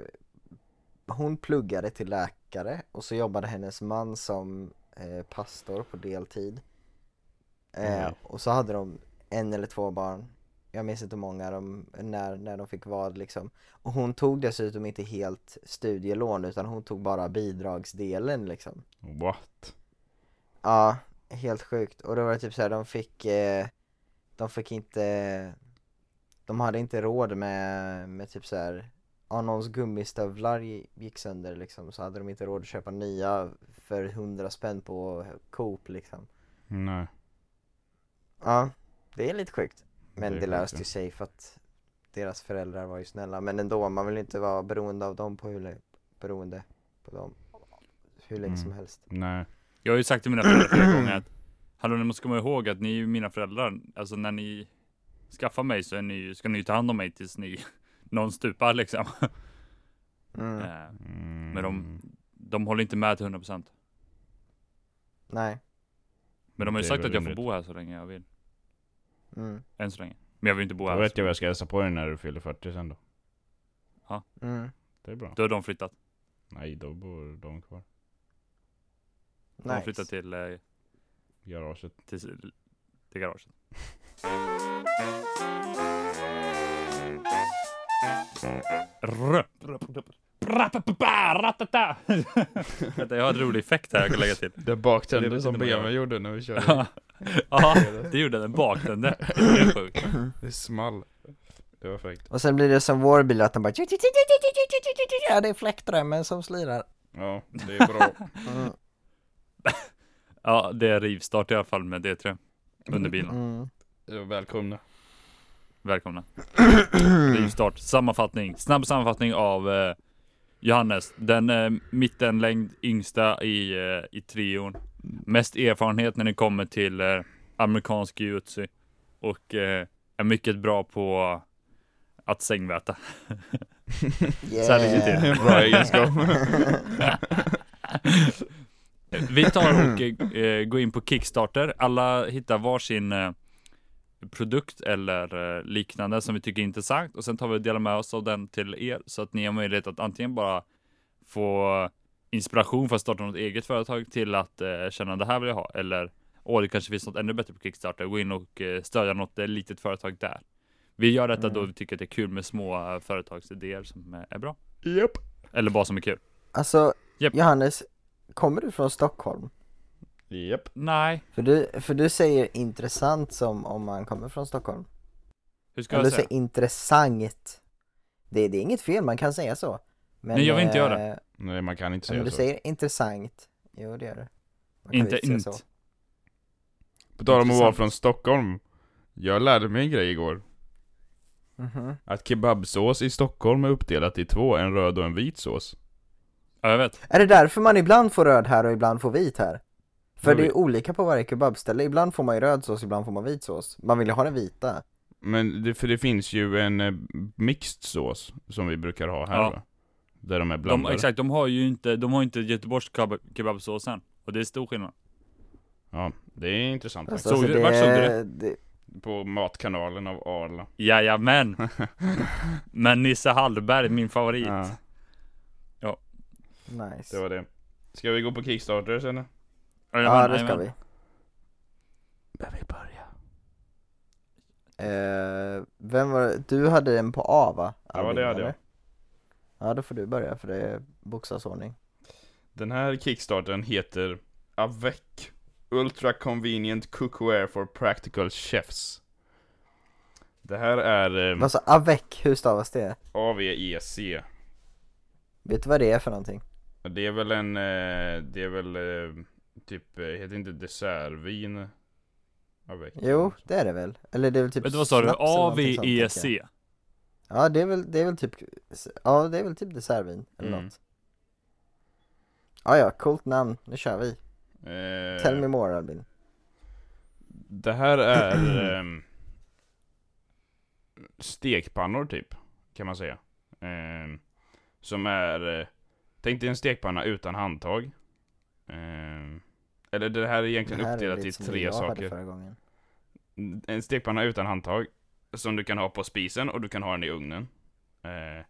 hon pluggade till läkare och så jobbade hennes man som eh, pastor på deltid. Eh,
Oj.
Och så hade de en eller två barn, jag minns inte hur många de, när, när de fick vad liksom. Och hon tog dessutom inte helt studielån utan hon tog bara bidragsdelen liksom.
What?
Ja, helt sjukt. Och då var det typ såhär, de fick, eh, de fick inte, de hade inte råd med, med typ såhär, om någons gummistövlar gi- gick sönder liksom så hade de inte råd att köpa nya för hundra spänn på Coop liksom.
Nej.
Ja, det är lite sjukt. Men
Det
det,
är sjukt,
löste ju sig för att deras föräldrar var ju snälla. Men ändå, man vill inte vara beroende av dem på hur, lä- beroende på dem hur länge
Mm.
som helst.
Nej.
Jag har ju sagt till mina föräldrar flera gånger att, hallå ni måste komma ihåg att ni är ju mina föräldrar, alltså när ni skaffar mig så är ni, ju- ska ni ju ta hand om mig tills ni, någon stupar liksom.
Mm.
Eh,
Mm.
Men de, de håller inte med till 100%.
Nej.
Men de har
Det är
ju sagt
väl
att jag får
rimligt.
bo här så länge jag vill,
Mm.
än så länge. Men jag vill inte bo
Då
här.
vet jag vad jag ska hälsa på dig när du fyller 40 sen då.
Mm.
Det är bra.
Då har de flyttat.
Nej, då bor de kvar.
De har
Nice.
flyttat till, eh,
Garaget.
till, till garaget. Rö. Bra-pa-pa-pa-ra-ta-ta. Vänta, jag har en rolig effekt här jag kan lägga till.
Det
Jag vet
baktände
som
som
inte vad jag- Benjamin
Benjamin gjorde när vi körde.
Ja, det gjorde den bakvände. Det är sjukt.
det small. Det var fräckt.
Och sen blir det som vår bil att den bara Ja, det är fläktremmen som slirar.
Ja, det är bra.
Mm.
Ja, det är rivstart i alla fall med D3. Under bilen.
Mm.
Ja, Välkomna.
Välkomna. Rivstart. Sammanfattning. Snabb sammanfattning av eh, Johannes. Den eh, mittenlängd, yngsta i, eh, i trion. Mest erfarenhet när det kommer till eh, amerikansk jujutsu. Och eh, är mycket bra på att sängväta. Så här ligger det
Yeah.
till.
Bra egenskap.
Vi tar och eh, går in på Kickstarter. Alla hittar varsin eh, produkt eller eh, liknande som vi tycker är intressant och sen tar vi och delar med oss av den till er så att ni har möjlighet att antingen bara få inspiration för att starta något eget företag till att eh, känna det här vill jag ha eller åh, det kanske finns något ännu bättre på Kickstarter. Gå in och eh, stödja något eh, litet företag där. Vi gör detta
Mm.
då vi tycker att det är kul med små eh, företagsidéer som eh, är bra
Japp.
eller bara som är kul.
Alltså,
Japp.
Johannes, kommer du från Stockholm?
Japp.
Nej,
För du, för du säger intressant som om man kommer från Stockholm.
hur ska
Eller
jag
så
säga?
intressant. Det, det är inget fel, man kan säga så. Men,
Nej, jag vill inte göra
det.
Nej, man kan inte
Men
säga
du
så.
säger intressant. Jo, det gör du. Man kan
Inte
visst säga
int.
så.
På tal om att vara
Intressant.
från Stockholm. Jag lärde mig en grej igår.
Mhm.
Att kebabsås i Stockholm är uppdelat i två, en röd och en vit sås.
Ja, jag vet.
Är det därför man ibland får röd här och ibland får vit här? För
Jag
det är
vet.
olika på varje kebabställe, ibland får man ju röd sås, ibland får man vit sås. Man vill ju ha den vita.
Men det, för det finns ju en eh, mixed sås som vi brukar ha här
Ja.
va? Där de är
De,
blandade.
exakt, de har ju inte, de har inte Göteborgs kebab, kebabsåsen. Och det är stor skillnad.
Ja, det är intressant
Alltså,
faktiskt.
Såg
alltså,
du- vart såg du
det? det
På matkanalen av Arla.
Jajamän! Men Nisse Hallberg, min favorit.
Ja, det
nice.
var det. Ska vi gå på Kickstarter sen?
Ja,
Jajamän,
det ska
jajamän.
vi.
Där vi börjar.
Eh, vem var det? Du hade en på A va? Albin,
det hade
eller? Ja, då får du börja för det är bokstavsordning.
Den här Kickstartern heter Avec Ultra Convenient Cookware for Practical Chefs. Det här är eh, E
Vad sa avec? Hur stavas det?
AVEC.
Vet du vad det är för någonting?
Det är väl en, eh, det är väl eh, typ, eh, heter inte dessertvin? Avec.
Jo, det är det väl? Eller det är väl typ
Vet du vad sa du? E,
snaps eller någonting sånt, tänker jag.
AVEC.
Ja det är väl, det är väl typ, ja det är väl typ dessertvin eller
Mm.
något ja, ja, coolt namn, nu kör vi!
Eh,
Tell me more Albin
Det här är ehm, stekpannor typ, kan man säga. Ehm, som är, eh, tänk dig en stekpanna utan handtag. Ehm, eller det här är egentligen
Det här är
uppdelat
lite
i
som
tre
jag hade
saker.
förra gången.
En stekpanna utan handtag, som du kan ha på spisen och du kan ha den i ugnen. Eh,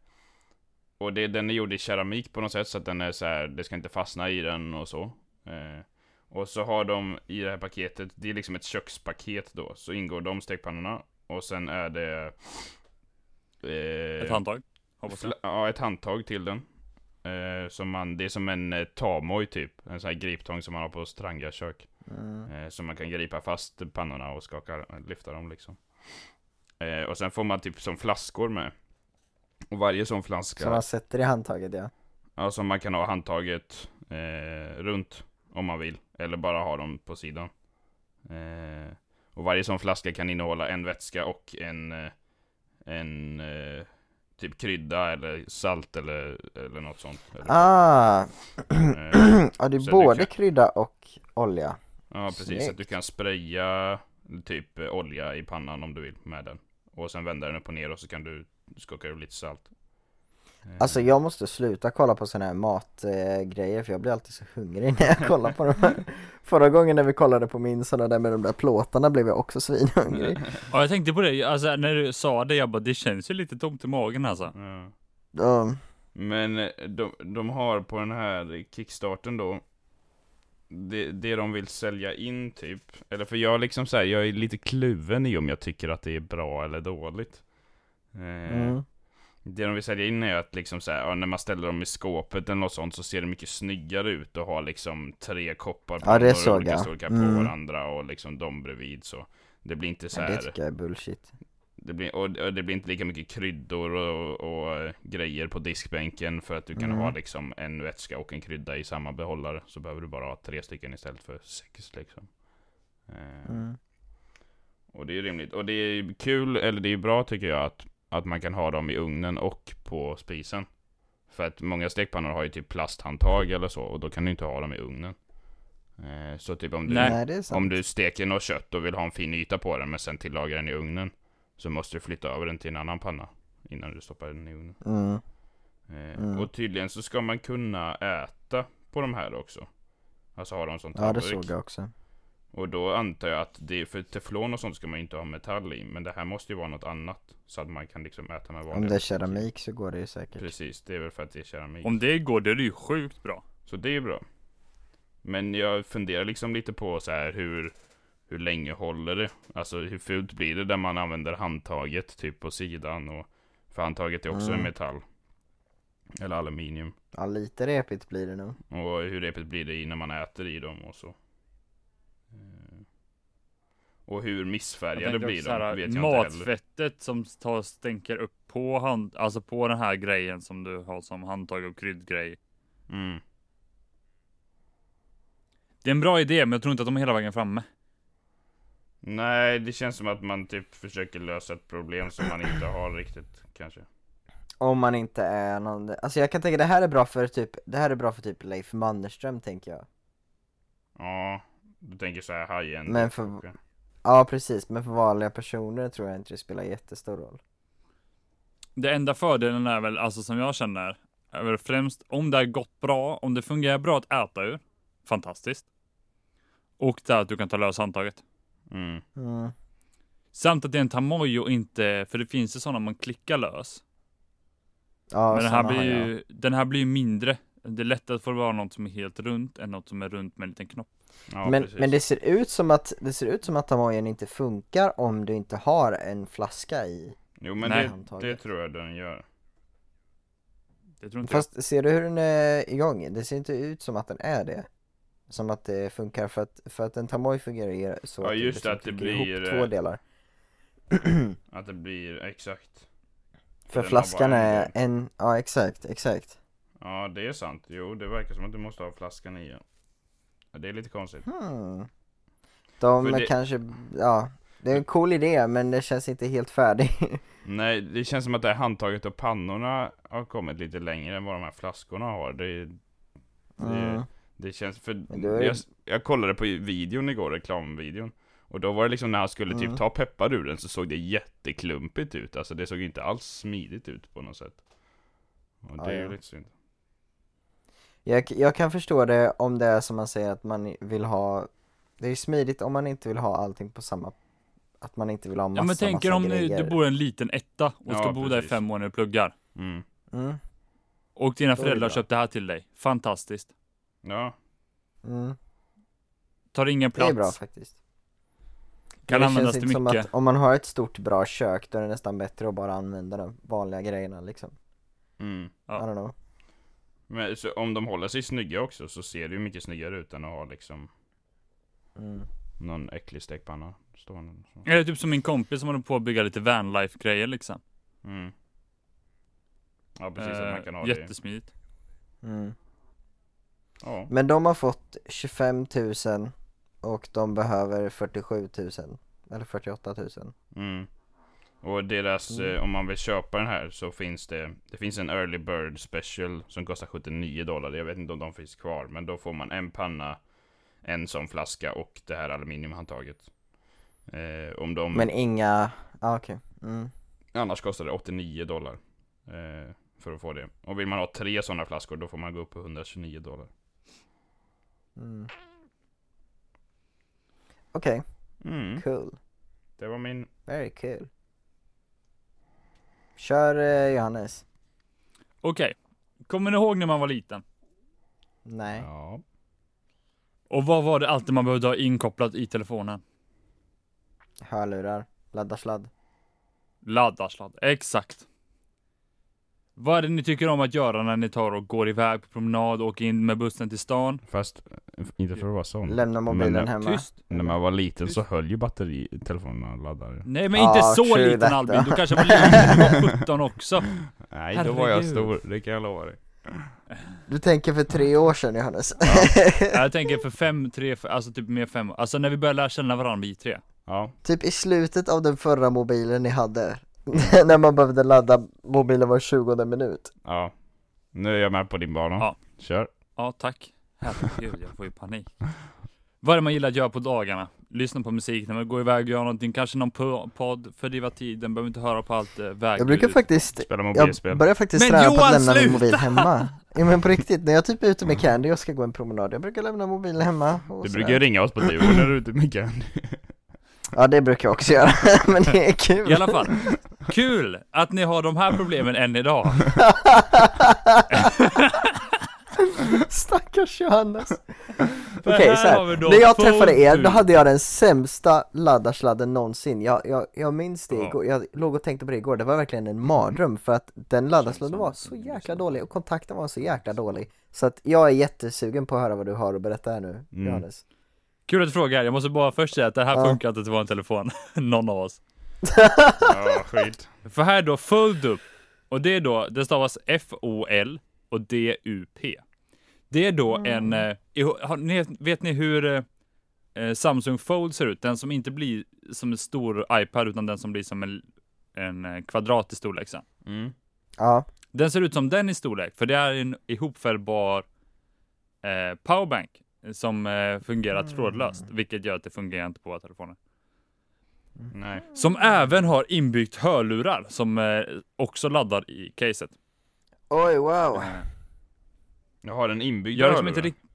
och det, den är gjord i keramik på något sätt, så att den är så här, det ska inte fastna i den och så. Eh, och så har de i det här paketet, det är liksom ett kökspaket då, så ingår de stekpannorna. Och sen är det... eh,
Ett handtag. Hoppas jag.
Fla- ja, ett handtag till den. Eh, som man, det är som en eh, tamoj typ, en sån här griptång som man har på strangakök.
Mm.
Eh, så man kan gripa fast pannorna och skaka, lyfta dem liksom. Eh, och sen får man typ som flaskor med. Och varje sån flaska,
Som man sätter i handtaget
Eh,
ja
ja, som man kan ha handtaget eh, runt om man vill. Eller bara ha dem på sidan. Eh, och varje sån flaska kan innehålla en vätska och en, eh, en eh, typ krydda eller salt eller, eller något sånt. Eller,
Ah!
eh,
ja det
Så du
är både
kan- Mm.
krydda och olja
Ja precis,
Snyggt.
att du kan spraya typ eh, olja i pannan om du vill med den. Och sen vända den upp och ner och så kan du skaka ur lite salt. Eh,
Alltså jag måste sluta kolla på sådana här matgrejer för jag blir alltid så hungrig när jag kollar på dem här. Förra gången när vi kollade på min sådana där med de där plåtarna blev jag också svinhungrig
Mm.
Ja, jag tänkte på det, alltså när du sa det, jag bara det känns ju lite tomt i magen alltså.
ja.
Ja.
Men eh, de, de har på den här kickstarten då det, det de vill sälja in typ, eller för jag liksom så här, jag är lite kluven i om jag tycker att det är bra eller dåligt. Eh,
mm.
Det de vill sälja in är att liksom så här, ja, när man ställer dem i skåpet eller något sånt så ser det mycket snyggare ut och har liksom tre koppar
Ja, det
några
såg
olika
jag.
storlekar på
Mm.
varandra och liksom de bredvid så. Det blir inte så
Men det
här,
tycker jag är bullshit
det blir, och, och det blir inte lika mycket kryddor och, och eh, grejer på diskbänken för att du kan
Mm.
ha liksom en vätska och en krydda i samma behållare. Så behöver du bara ha tre stycken istället för sex liksom. Eh,
mm.
och det är ju rimligt. Och det är ju kul, eller det är ju bra tycker jag, att, att man kan ha dem i ugnen och på spisen. För att många stekpannor har ju typ plasthandtag eller så, och då kan du inte ha dem i ugnen. Eh, så typ om du,
Nej.
det är sant
om du steker något kött och vill ha en fin yta på den, men sen tillagar den i ugnen. Så måste du flytta över den till en annan panna innan du stoppar den i ugnen.
mm.
Eh,
Mm.
Och tydligen så ska man kunna äta på de här också. Alltså ha dem som
Ja det
tallrik.
såg jag också
Och då antar jag att det, för teflon och sånt ska man ju inte ha metall i, men det här måste ju vara något annat. Så att man kan liksom äta med vanliga
Om det är
metall.
keramik typ. så går det ju säkert
Precis, det är väl för att det är keramik.
Om det går, då är det ju sjukt bra.
Så det är bra. Men jag funderar liksom lite på så här hur, hur länge håller det? Alltså hur fult blir det där man använder handtaget typ på sidan? Och, för handtaget är också
Mm.
en metall. Eller aluminium.
Ja lite repigt blir det nog
Och hur repigt blir det i när man äter i dem och så. Eh, Och hur missfärgade
tänkte
blir
också så här,
de vet jag inte heller.
matfettet som tar, stänker upp på hand, alltså på den här grejen som du har som handtag och kryddgrej.
Mm.
Det är en bra idé, men jag tror inte att de är hela vägen framme.
Nej, det känns som att man typ försöker lösa ett problem som man inte har riktigt kanske.
Om man inte är någon, alltså jag kan tänka det här är bra för typ, det här är bra för typ Leif Mannerström tänker jag
Ja, du tänker så här high-end.
Men för-
kanske.
Ja precis, men för vanliga personer tror jag inte det spelar jättestor roll
Det enda fördelen är väl, alltså som jag känner, är väl främst om det har gått bra, om det fungerar bra att äta ur. Fantastiskt. Och det är att du kan ta lös handtaget.
Mm.
mm.
Samt att det är en tamoj och inte, för det finns ju sådana man klickar lös.
Ja,
Men den här,
såna
blir
har jag.
ju, den här blir ju mindre. Det är lättare att få vara något som är helt runt än något som är runt med en liten knopp.
Ja,
men,
precis.
men det ser ut som att, det ser ut som att tamojen inte funkar om du inte har en flaska i
Jo men
Nej,
det, det
handtaget.
tror jag den gör.
Det tror inte
Fast ser du hur den är igång? Det ser inte ut som att den är det Som att det funkar för att, för att en tamoj fungerar ju så
Ja,
att
just
liksom
det, att det
trycker ihop
blir, eh,
två delar
Att det blir exakt.
För
Den har
flaskan
bara en
är
gång.
en, ja exakt, exakt.
Ja, det är sant. Jo, det verkar som att du måste ha flaskan i. Ja, det är lite konstigt.
Hmm. De
För det-
kanske, ja, det är en cool idé men det känns inte helt färdig.
Nej, det känns som att det här handtaget och pannorna har kommit lite längre än vad de här flaskorna har. Det,
Mm.
det känns, för
då är det-
jag, jag kollade på videon igår, reklamvideon. Och då var det liksom när han skulle typ
Mm.
ta peppar ur den så såg det jätteklumpigt ut. Alltså det såg inte alls smidigt ut på något sätt. Och det
Ja,
är ju
ja.
lite synd.
Jag, jag kan förstå det om det är som man säger att man vill ha, det är ju smidigt om man inte vill ha allting på samma, att man inte vill ha massa,
Ja men tänk er
massa
om ni,
grejer.
du bor i en liten etta och ska
Ja,
bo där i
precis.
fem år när du pluggar.
Mm.
Mm,
Och dina
Då är det
föräldrar
bra.
köpte det här till dig. Fantastiskt.
Ja,
mm.
Tar ingen
Det är bra
plats.
faktiskt.
Kan
det
användas
känns
till
inte som
mycket.
att om man har ett stort bra kök då är det nästan bättre att bara använda de vanliga grejerna liksom.
mm.
Ja.
I don't know.
Men så, om de håller sig snygga också så ser det ju mycket snyggare ut än att ha liksom
Mm.
någon äcklig stekpanna stående. och Så.
Eller typ som min kompis som håller på att bygga lite vanlife grejer liksom.
Mm. Ja precis, att man kan ha
eh,
det.
jättesmidigt.
Mm.
Ja.
Men de har fått 25 000 och de behöver 47 000 eller 48 000.
Mm. Och deras,
Mm.
eh, om man vill köpa den här så finns det, det finns en early bird special som kostar 79 dollar. Jag vet inte om de finns kvar, men då får man en panna, en sån flaska och det här aluminiumhandtaget. Eh, om
Mm.
de,
Men inga, ah, okej. Mm.
annars kostar det 89 dollar. Eh, för att få det. Och vill man ha tre sådana flaskor då får man gå upp på 129 dollar.
Mm. Okej,
Mm,
cool.
det var min...
Very cool. Kör eh, Johannes.
Okej. Kommer ni ihåg när man var liten?
Nej.
Ja.
Och vad var det alltid man behövde ha inkopplat i telefonen?
Hörlurar. Laddarsladd.
Laddarsladd. Exakt. Vad är det ni tycker om att göra när ni tar och går iväg på promenad och åker in med bussen till stan?
Fast, eh, inte för att vara sån.
Lämna mobilen
Men, eh,
hemma.
Mm. Tyst.
När man var liten så höll ju batteri, telefonerna laddade.
Nej men
Ja,
inte så
true
liten
detta.
Albin, du kanske var liten när du var 17 också.
Nej, då var jag
Herregud.
stor, det kan jag lova dig.
Du tänker för tre år sedan Johannes.
Jag tänker för fem, tre, för, alltså typ mer fem, alltså när vi började lära känna varandra vi tre.
Ja,
typ i slutet av den förra mobilen ni hade.
Mm.
när man behövde ladda mobilen var 20 minut.
ja. Nu är jag med på din bana.
Ja.
Kör.
Ja tack. Herregud, jag får ju panik. Vad är det man gillar att göra på dagarna? Lyssna på musik när man går iväg och gör någonting, kanske någon po- podd, fördriva tiden, behöver inte höra på allt eh, väg.
Jag brukar faktiskt,
Spela
jag
mobilspel.
börjar faktiskt
Men
träna på
Johan,
att lämna min
sluta!
mobil hemma. Ja, men på riktigt, när jag typ är ute med Candy och ska gå en promenad, jag brukar lämna mobilen hemma. Och
Mm. Du
sådär.
brukar ju ringa oss på Duo när du är ute mycket.
Ja det brukar jag också göra, men det är kul.
I alla fall, kul att ni har de här problemen än idag.
Stackars Johannes.
Men
Okej,
här
så här,
har vi då
när jag
full
träffade er,
tur.
då hade jag den sämsta laddarsladden någonsin. Jag, jag, jag minns det
Ja.
igår, jag låg och tänkte på det igår, det var verkligen en mardröm för att den laddarsladden var så jäkla dålig och kontakten var så jäkla dålig. Så att jag är jättesugen på att höra vad du har att berätta här nu,
Mm.
Johannes.
Kul att du frågar, jag måste bara först säga att det här
Ja.
funkar inte till vår telefon, någon av oss.
Ja, skit.
För här då, fold up. Och det är då, det stavas F-O-L och D-U-P. Det är då en, eh, i- har, ni, vet ni hur eh, eh, Samsung Fold ser ut? Den som inte blir som en stor iPad utan den som blir som en, en eh, kvadrat i storlek sen.
Mm.
Ja,
Den ser ut som den i storlek, för det är en ihopfällbar eh, powerbank som eh, fungerar trådlöst, vilket gör att det fungerar inte på våra telefoner.
Nej.
Som även har inbyggt hörlurar som eh, också laddar i caset.
oj wow.
Jag har en inbyggd
Jag har liksom
hörlurar.
inte
Inte,
riktigt...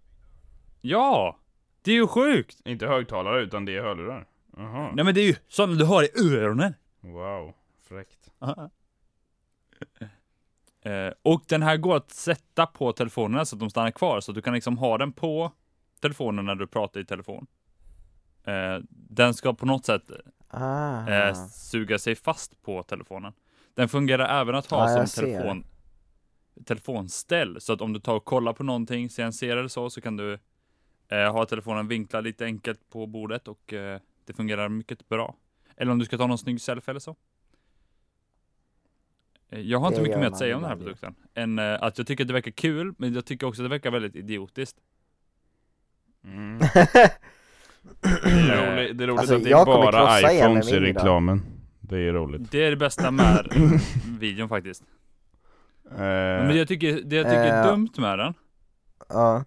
Ja! Det är ju sjukt!
högtalare utan det är hörlurar. Jaha.
Nej men det är ju sådana du har i öronen!
Wow. Fräckt.
Eh, och den här går att sätta på telefonerna så att de stannar kvar, så att du kan liksom ha den på telefonen när du pratar i telefon. Eh, den ska på något sätt
Ah.
eh, suga sig fast på telefonen. Den fungerar även att ha
Ja, jag
som telefon, telefonställ, så att om du tar och kollar på någonting, ser en serie eller så, så kan du eh, ha telefonen vinklad lite enkelt på bordet och eh, det fungerar mycket bra. Eller om du ska ta någon snygg selfie eller så. Eh, Jag har inte
Det
mycket
gör
mer att
man
säga om den här
ibland,
produkten. Än eh, att jag tycker att det verkar kul, men jag tycker också att det verkar väldigt idiotiskt. Mm.
Det är roligt, det är roligt
Alltså,
att det är
jag kommer
bara
krossa igen med
iPhones i
min idag.
reklamen. Det är roligt.
Det är det bästa med videon faktiskt. Men det
Eh,
jag tycker, det jag tycker är
Eh.
dumt med den,
Ja,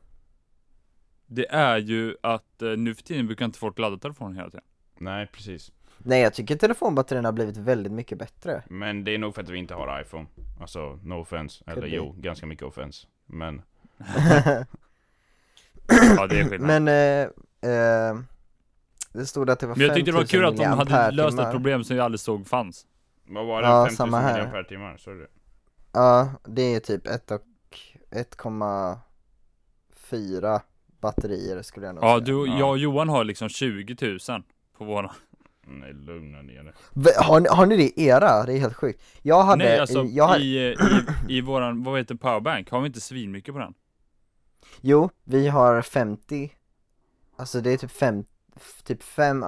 det är ju att eh, nu för tiden brukar inte folk ladda telefonen hela tiden.
nej, precis.
nej jag tycker telefonbatterierna har blivit väldigt mycket bättre
Men det är nog för att vi inte har iPhone. Alltså, no offense. Eller
be.
jo, ganska mycket offense. Men
Ja, det är skillnad.
Men, eh, eh, det stod att det var
Men jag tyckte det var
5000
kul att de hade
milliampere
löst
timmar.
ett problem som jag aldrig såg fanns.
vad var det?
Ja,
5000
samma här.
milliampere timmar, så är det.
Ja, det är typ ett och 1,4 batterier skulle jag nog
Ja,
säga
du,
Ja.
jag och Johan har liksom 20 000 på våra.
Nej, lugna ner dig.
Va- har, ni, har ni det i era? Det är helt sjukt Jag hade,
Nej, alltså
jag hade
i, i, i våran, vad heter powerbank, har vi inte svinmycket på den?
jo, vi har 50 Alltså det är typ 5, typ 5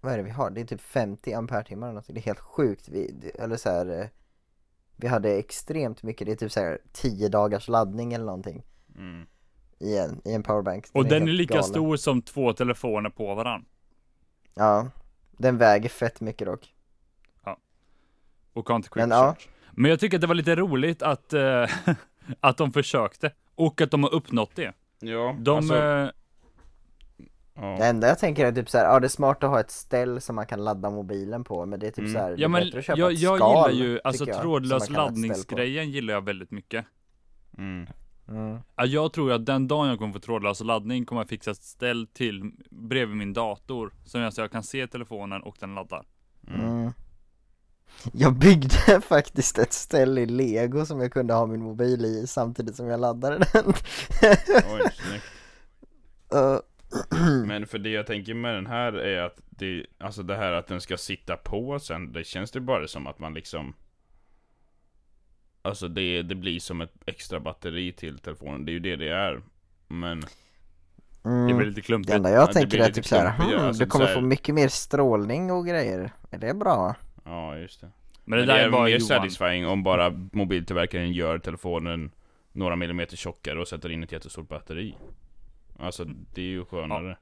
Vad är det vi har? Det är typ 50 ampere timmar eller någonting. Det är helt sjukt, vi, det- eller så här. eh, Vi hade extremt mycket, det är typ så här 10 dagars laddning eller någonting
Mm.
i en, i en powerbank
Och den är
helt
lika
galen.
stor som två telefoner på varann.
Ja, den väger fett mycket dock
Och har inte quick
Men ja,
charge. Men jag tycker att det var lite roligt att, eh, att de försökte. Och att de har uppnått det.
Ja,
De,
alltså,
eh,
Det
ja.
enda jag tänker är typ såhär, ja det är smart att ha ett ställ som man kan ladda mobilen på men det är typ
Mm.
så här, det är
ja men
bättre att köpa
jag, jag
ett
gillar
skal,
ju, alltså
tycker jag, som man
trådlös
kan ha ett ställ på.
laddningsgrejen gillar jag väldigt mycket.
Mm.
Mm.
Ja, Jag tror att den dagen jag kommer få trådlös laddning kommer jag fixa ett ställ till bredvid min dator. Som jag, så jag kan se telefonen och den laddar.
Mm.
Mm. Jag byggde faktiskt ett ställ i lego som jag kunde ha min mobil i samtidigt som jag laddade den
Oj, snyggt.
Eh,
Men för det jag tänker med den här är att det, alltså det här att den ska sitta på sen, det känns det bara som att man liksom Alltså det, det blir som ett extra batteri till telefonen, det är ju det det är Men,
Det blir
mm.
lite
Det
klumpigt.
enda
Ja,
jag
det
tänker
blir
är
lite
typ såhär,
klumpigare,
hmm,
alltså
du kommer
så här-
få mycket mer strålning och grejer, är det bra?
ja just det
Men det
Men
där är bara
mer
Johan.
satisfying om bara mobiltillverkaren gör telefonen några millimeter tjockare och sätter in ett jättestort batteri Alltså det är ju skönare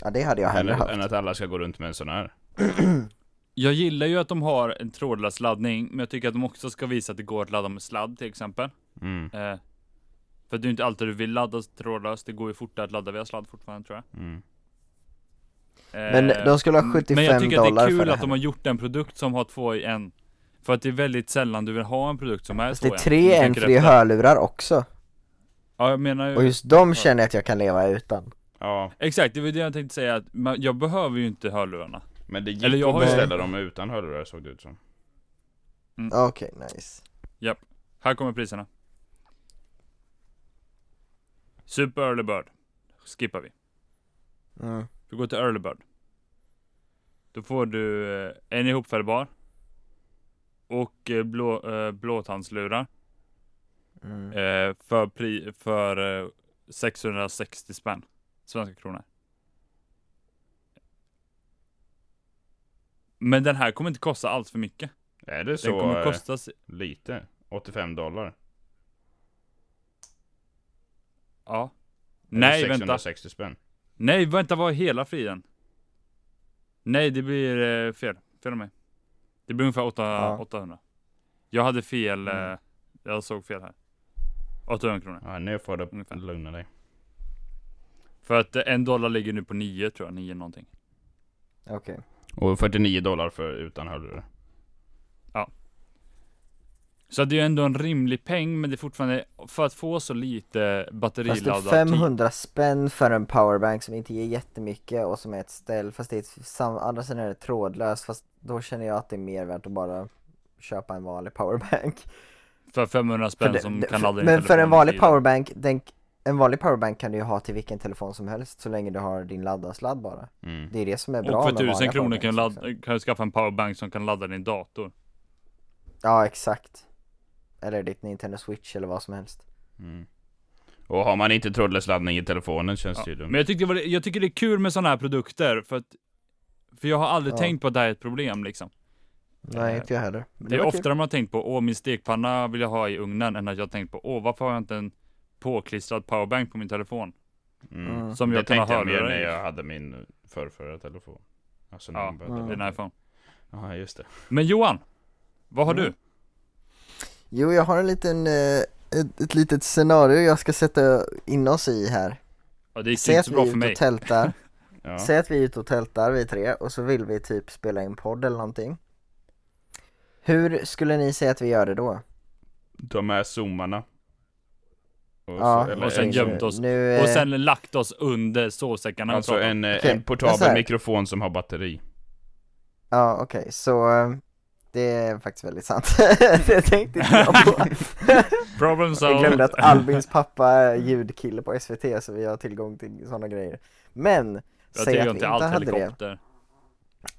Ja det hade jag
än,
hellre
än
haft
att alla ska gå runt med en sån här
Jag gillar ju att de har en trådlös laddning, men jag tycker att de också ska visa att det går att ladda med sladd till exempel.
mm,
Eh, för det är ju inte alltid du vill ladda trådlöst, det går ju fortare att ladda via sladd fortfarande tror jag.
mm.
Eh,
Men de skulle ha
mm,
75
Men jag tycker att det
dollar
är
för
kul
det
att de
här.
har gjort en produkt som har två i en. För att det är väldigt sällan du vill ha en produkt som är
Fast
två
det
i en.
är tre
Om du tänker
en-fri
efter.
hörlurar också,
Ja, jag menar ju.
och just de känner jag att jag kan leva utan
Ja,
Exakt, det var det jag tänkte säga att man, jag behöver ju inte hörlurarna.
men det gick
Eller jag
att
har ju-
beställa dem utan hörlurar såg det ut som
Okej, nice
Här kommer priserna. Super Early Bird. Skippar vi.
Mm.
Du går till Early Bird. Då får du eh, en ihopfällbar. Och eh, blå, eh, blåtandslurar.
Mm.
Eh, för pri, för eh, 660 spänn. Svenska kronor. Men den här kommer inte kosta allt för mycket.
Är det
Den
så
kommer
eh,
kosta... si-
lite? 85 dollar?
Ja.
Eller
Nej, vänta.
660 spänn?
Nej, vänta, vad är hela friden? Nej, det blir eh, fel. Fel av mig. Det blir ungefär 8,
Ja.
800. Jag hade fel.
Mm.
Eh, jag såg fel här. 800 kronor.
Ja, nu får du
Ungefär.
lugna dig.
För att eh, en dollar ligger nu på 9 tror jag. 9 någonting.
Okej.
Och 49 dollar för utan hörlurar.
Så det är ju ändå en rimlig peng, men det är fortfarande för att få så lite
Fast det är
batteriladdad typ, tid.
500 spänn för en powerbank som inte ger jättemycket och som är ett ställ fast det är ett, sam, andra sidan är det trådlöst fast då känner jag att det är mer värt att bara köpa en vanlig powerbank.
För 500
För
spänn
det-
som
det-
kan
för,
ladda din
Men för
telefon
en
i
vanlig
tiden.
powerbank, den, en vanlig powerbank kan du ju ha till vilken telefon som helst så länge du har din laddarsladd bara.
Mm.
Det är det som är bra
Och för
med
1000
vanliga
kronor kan du,
powerbanks liksom. också.
ladda, kan du skaffa en powerbank som kan ladda din dator.
Ja, exakt. Eller ditt Nintendo Switch eller vad som helst.
Mm. Och har man inte trådlös laddning i telefonen känns
Ja,
det ju dumt.
Men jag, tyckte det var, jag tycker det är kul med sådana här produkter för att För jag har aldrig
Ja.
tänkt på att det här är ett problem liksom.
Nej, inte jag heller. Men
Det är
var kul.
oftare man har tänkt på, åh min stekpanna vill jag ha i ugnen, än att jag har tänkt på, åh varför har jag inte en påklistrad powerbank på min telefon?
Mm.
Mm.
Som jag
det
kan ha
tänkte jag mer
hörlurar
när
i.
jag hade min förrförra telefon. Alltså när
Ja.
jag började.
Mm.
Din iPhone.
Ja, just det.
Men Johan, vad har
Mm.
du?
Jo, jag har en liten, eh, ett, ett litet scenario jag ska sätta in oss i här.
Ja, det gick
Säg
inte
att
så
vi är
bra för
ute
mig.
och tältar.
Ja.
Säg att vi är ute och tältar vi tre och så vill vi typ spela in podd eller någonting. Hur skulle ni säga att vi gör det då?
Ta med zoomarna. Och,
Ja,
och sen
en,
nu-
gömt oss.
Nu,
Och
eh,
sen lagt oss under sovsäckarna och
Alltså
pratat.
en, eh,
Okej,
en
men så här.
portabel mikrofon som har batteri.
Ja, okej, så eh, det är faktiskt väldigt sant. det tänkte inte jag på.
Problem
Jag
solved.
glömde att Albins pappa är ljudkille på SVT så vi har tillgång till sådana grejer. Men,
Jag
säg
tänker
att vi
inte
inte
allt
hade det.
helikopter.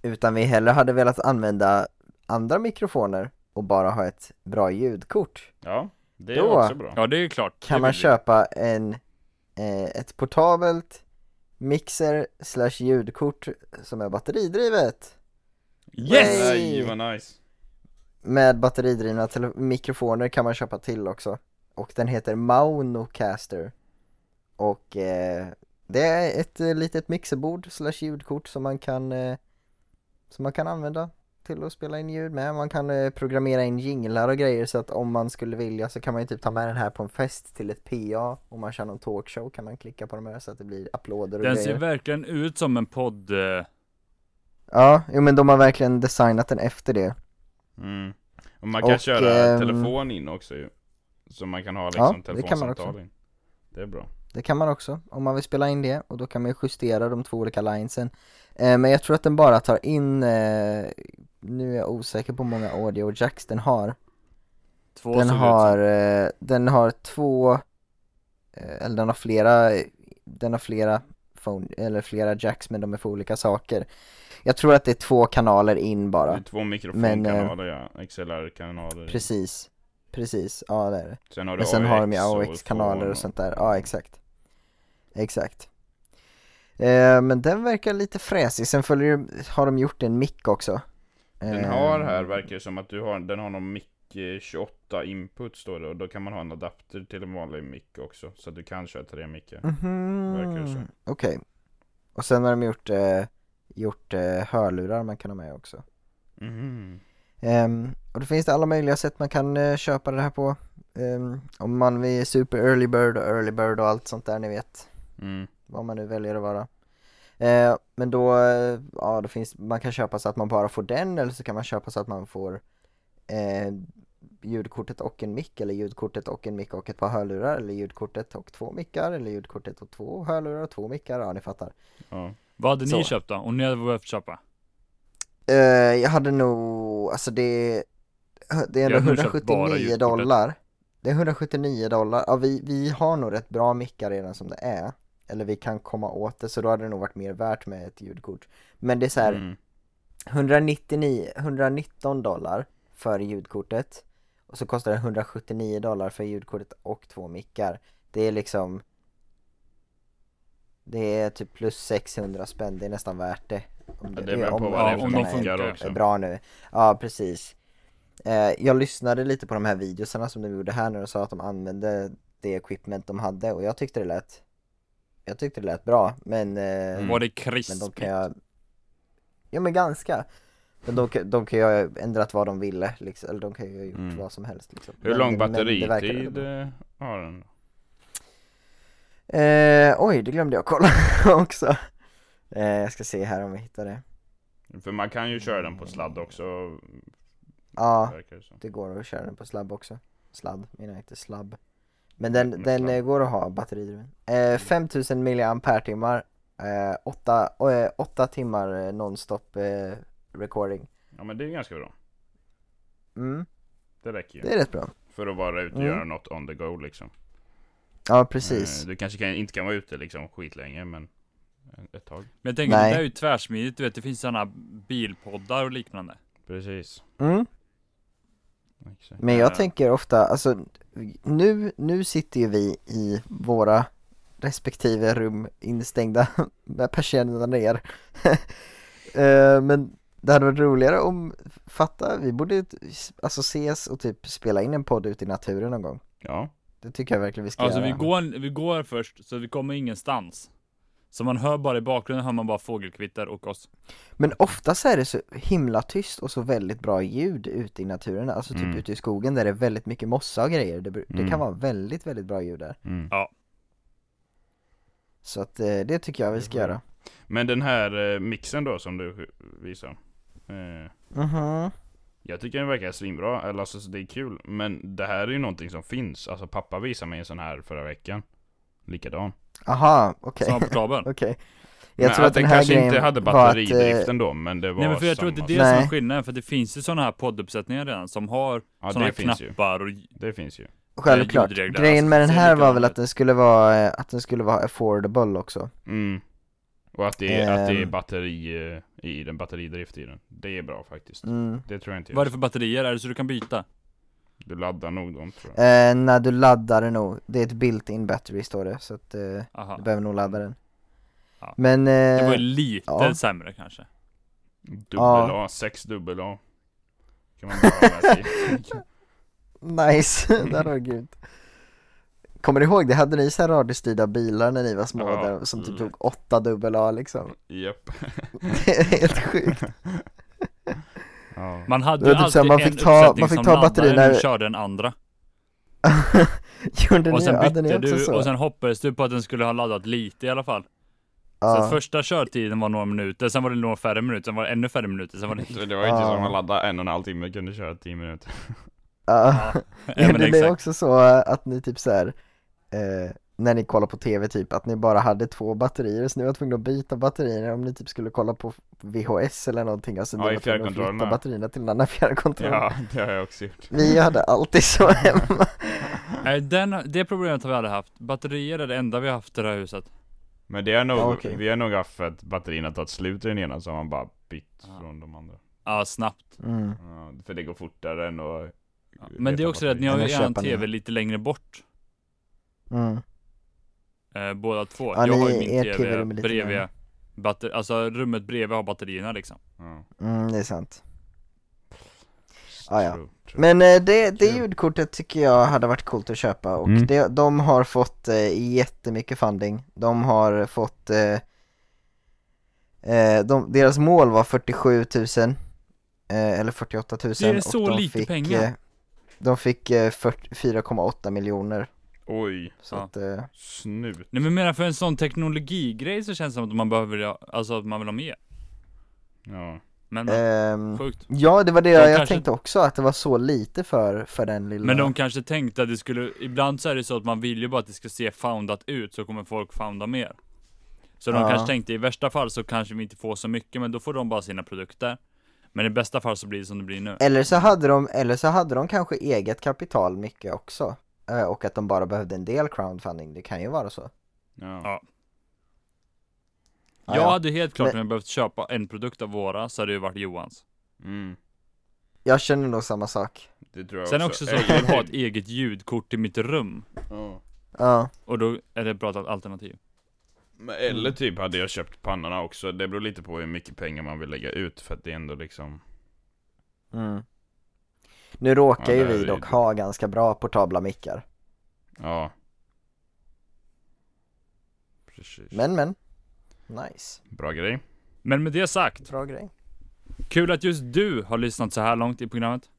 Utan vi hellre hade velat använda andra mikrofoner och bara ha ett bra ljudkort.
Ja, det är
Då.
också bra.
Ja, det är ju klart.
Kan
Det
man
vill vi.
köpa en, eh, ett portabelt mixer slash ljudkort som är batteridrivet?
Yes!
Nej, vad nice.
Med batteridrivna tele- mikrofoner kan man köpa till också. Och den heter Maunocaster. Och eh, det är ett eh, litet mixerbord slash ljudkort som man kan eh, som man kan använda till att spela in ljud med. Man kan eh, programmera in jinglar och grejer så att om man skulle vilja så kan man ju typ ta med den här på en fest till ett PA. Om man kör någon talkshow kan man klicka på de här så att det blir applåder och
Den ser
grejer.
verkligen ut som en podd. eh,
Ja, jo, men de har verkligen designat den efter det.
Mm. Och man kan
Och,
köra
ehm,
telefon in också ju. Så man kan ha
Ja,
liksom
det kan man
telefonsamtal
också.
in. Det är bra.
Det kan man också, om man vill spela in det och då kan man ju justera de två olika linesen eh, Men jag tror att den bara tar in, eh, nu är jag osäker på hur många audio jacks den har
Två
Den
såg ut
har, eh, den har två, eh, eller den har flera, den har flera phone, eller flera jacks men de är för olika saker Jag tror att det är två kanaler in
Det
bara,
är två
Men, eh,
mikrofonkanaler ja, XLR-kanaler.
precis Precis, ja det är det
Sen har du
Men sen har de ju
och
AOX-kanaler
fon
och sånt där, ja exakt Exakt eh, Men den verkar lite fräsig, sen följer, ju- har de gjort en mick också
Den
Eh,
har här, verkar det som att du har, den har någon mic eh, 28 input står det och då kan man ha en adapter till en vanlig mic också så att du kan köra tre mickar.
Mhm,
verkar det
okej
som.
Och sen har de gjort, eh, gjort eh, hörlurar man kan ha med också
Mhm.
Ehm, och då finns det alla möjliga sätt man kan eh, köpa det här på Ehm, Om man vill super early bird och early bird och allt sånt där ni vet
Mm.
vad man nu väljer att vara. Eh, men då, eh, ja då finns, man kan köpa så att man bara får den eller så kan man köpa så att man får eh, ljudkortet och en mick eller ljudkortet och en mick och ett par hörlurar eller ljudkortet och två mickar eller ljudkortet och två hörlurar och två mickar, ja ni fattar.
Ja.
Vad hade
Så.
ni köpt då? Om ni hade behövt köpa?
Eh, jag hade nog, alltså det, det är
Jag hade
ändå
nog köpt bara
179
ljudkortet.
dollar. Det är 179 dollar, ja vi, vi har nog rätt bra mickar redan som det är. Eller vi kan komma åt det, så då hade det nog varit mer värt med ett ljudkort. Men det är så här,
Mm.
199, 119 dollar för ljudkortet och så kostar det 179 dollar för ljudkortet och två mickar. Det är liksom Det är typ plus 600 spänn, det är nästan värt det. Om
Ja, det beror
om-
på vad det är
om
för
de
de
funkar
mickar
är
också.
är bra nu. Ja, precis. Eh, jag lyssnade lite på de här videosarna som de gjorde här när de sa att de använde det equipment de hade och jag tyckte det lät Jag tyckte det lät bra, men eh,
Mm.
Var det
men
krispigt?
de kan jag Ja men ganska Men de, kan- de kan ju ha ändrat vad de ville liksom, eller de kan ju ha gjort
Mm.
vad som helst liksom.
Hur
Men-
lång
men det verkar ändå
batteritid
bra.
eh, har den?
Eh, oj, det glömde jag kolla också eh, Jag ska se här om vi hittar det
För man kan ju köra den på sladd också
Ja,
verkar det som.
det går att köra den på slabb också Sladd, menar jag inte slabb Men
Med
den, den
sladd.
eh, går att ha batteridriven eh, 5000 mAh eh, 8, eh, 8 timmar eh, nonstop eh, recording
Ja men det är ganska bra.
mm,
Det räcker ju.
Det är rätt bra
För att vara ute och
Mm.
göra något on the go liksom.
Ja precis
Eh, Du kanske kan, inte kan vara ute liksom skitlänge men ett tag.
Men jag tänker,
Nej.
det där är ju tvärsmidigt, du vet det finns sådana bilpoddar och liknande.
Precis.
Mm.
Exakt.
Men jag
Eh.
tänker ofta, alltså nu, nu sitter ju vi i våra respektive rum instängda med persiennerna ner Eh, men det hade varit roligare om, fatta, vi borde ju t- alltså ses och typ spela in en podd ute i naturen någon gång.
Ja.
Det tycker jag verkligen vi ska
Alltså
göra.
vi går, vi går först, så vi kommer ingenstans. Så man hör bara i bakgrunden, hör man bara fågelkvitter och oss.
Men oftast är det så himla tyst och så väldigt bra ljud ute i naturen, alltså typ
Mm.
ute i skogen där det är väldigt mycket mossa och grejer. Det, bru- det
Mm.
kan vara väldigt, väldigt bra ljud där.
Mm.
Så att eh, det tycker jag vi ska göra.
Men den här eh, mixen då som du visar. Eh,
Mhm.
jag tycker den verkar svinbra, eller alltså så det är kul. Men det här är ju någonting som finns. Alltså pappa visade mig en sån här förra veckan. Likadan.
Aha, okej.
Som var på kabeln.
Okej.
Men
Jag tror att den här
kanske
grejen
inte hade
var att, eh,
batteridriften då, men det var
Nej men för jag tror
samma.
att det är det
Nej.
som är skillnaden, för det finns ju sådana här podduppsättningar redan som har
ja,
sådana
det
här
finns ju.
knappar och
Det finns ju.
eh, Självklart.
ljudregler,
Grejen
alltså,
med den
ser
här var
likadan
väl att
ut.
den skulle vara, eh, att den skulle vara affordable också.
Mm. Och att det, är, att det är
Ehm.
batteri eh, i den, batteridrift i den. Det är bra faktiskt.
Mm.
Det tror jag inte
Vad är
jag.
det för batterier? Är det så du kan byta?
Du laddar nog dem tror jag.
Eh, när du laddar den nog, det är ett built-in battery står det, så att eh,
Aha.
du behöver nog ladda den.
Ja.
Men,
Det var ju
eh,
lite
ja.
sämre kanske.
Eh,
Dubbel A, sex dubbel A. Kan man bara ha med sig.
nice, det hade varit grymt. Kommer du ihåg det? Hade ni så här radiostyrda bilar när ni var små
Ja.
där, som
Mm.
typ tog åtta dubbel A liksom?
Japp.
Det är helt sjukt.
Ja.
Man hade
Det
ju
var typ så
alltid
här, man
en
fick ta-
uppsättning
man fick
som
ta
laddade
batterierna-
när du körde den andra.
Gjorde
Och
ni,
sen
hade ni
bytte
också
du
så?
och sen hoppades du på att den skulle ha laddat lite i alla fall. Så
ja.
att första körtiden var några minuter, sen var det några färre minuter, sen var det ännu färre minuter, sen var det...
Det var inte
Ja.
som att ladda en och en halv timme, kunde köra tio minuter.
ja.
Ja, ja men
Gjorde ni
exakt.
också så eh, att ni typ så här, eh, när ni kollar på tv typ, att ni bara hade två batterier så ni var tvungna att byta batterierna om ni typ skulle kolla på VHS eller någonting, alltså ni
Ja, i
var tvungna att flytta
fjärrkontrollerna.
batterierna till en annan fjärrkontroll.
Ja, det har jag också gjort.
Vi hade alltid så hemma.
Nej, Den, det problemet har vi aldrig haft. Batterier är det enda vi har haft i det här huset.
Men det är nog,
Ja, okej.
vi har nog haft för att batterierna tagit slut i den ena så har man bara bytt
Ja.
från de andra.
Ja, snabbt.
Mm.
Ja, för det går fortare än att...
Ja, Men det är
leta
också det att ni
batteri.
har ju
Eller
en
köpa nya.
TV lite längre bort.
Mm.
Eh, båda två.
Ja,
jag
ni-
har ju min
er
TV,
TV-rum är lite
bredvid.
närmare.
Batter- alltså rummet bredvid har batterierna liksom.
Ja.
Mm, det är sant.
Ah,
Ah,
ja.
ja.
True, true.
Men eh, det, det
Kul.
ljudkortet tycker jag hade varit coolt att köpa och
Mm.
det, de har fått eh, jättemycket funding. De har fått, eh, eh, de, deras mål var 47 000 eh, eller 48 000
Det är
och
så
de
lite
fick,
pengar.
Eh, de fick eh, 40 4,8 miljoner.
Oj,
Så
Ja.
att, eh,
snut.
Nej men mera för en sån teknologigrej så känns det som att man behöver, ha- alltså att man vill ha mer.
Ja.
Men
ehm,
sjukt.
ja det var det
Mm. De
jag
kanske-
tänkte också, att det var så lite för, för den lilla
Men de kanske tänkte att det skulle, ibland så är det så att man vill ju bara att det ska se foundat ut så kommer folk founda mer. Så de
Ja.
kanske tänkte i värsta fall så kanske vi inte får så mycket men då får de bara sina produkter. Men i bästa fall så blir det som det blir nu.
Eller så hade de, eller så hade de kanske eget kapital mycket också. Eh, Och att de bara behövde en del crowdfunding, det kan ju vara så.
Ja.
Ja.
Ja,
jag
ja.
hade helt klart
Men-
om jag behövt köpa en produkt av våra så hade det ju varit Johans.
Mm.
Jag känner nog samma sak.
Det tror jag
Sen
också.
också så att jag vill ha ett eget ljudkort i mitt rum.
Ja.
Ja,
Och då är det ett bra alternativ.
Men eller
Mm.
typ hade jag köpt pannorna också. Det beror lite på hur mycket pengar man vill lägga ut för att det är ändå liksom...
mm. Nu råkar
Ja,
ju
det är
vi
ju-
dock ha ganska bra portabla mickar.
Ja. Precis.
Men men, nice.
Bra grej.
Men med det sagt,
Bra grej.
kul att just du har lyssnat så här långt i programmet.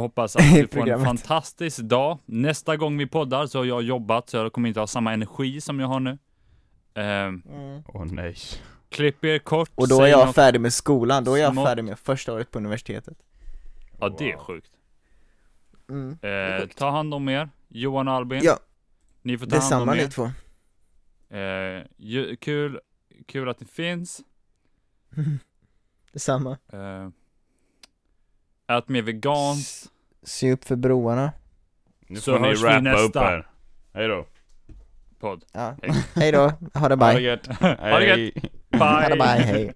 hoppas att du får en
programmet.
fantastisk dag. Nästa gång vi poddar så har jag jobbat så jag kommer inte ha samma energi som jag har nu. Ehm,
Åh nej.
klipp er kort,
Och då är
säg
jag
något-
färdig med skolan, då är jag
smått.
färdig med första året på universitetet
Ja det är sjukt.
Mm. är
Ehm,
sjukt.
ta hand om er, Johan och Albin.
Ja.
Ni får ta hand
Detsamma
om
ni
er.
två
Ehm, ju- kul, kul att ni finns.
Detsamma
Ehm, ät mer veganskt.
Se upp för broarna
Nu
Så
får ni
hörs vi
rappa upp
nästa.
här. Hej då.
podd.
Ja. Hej då, ha det
Ha det
bye.
gött.
Ha det gött.
Hej.
Ha det bye, hej.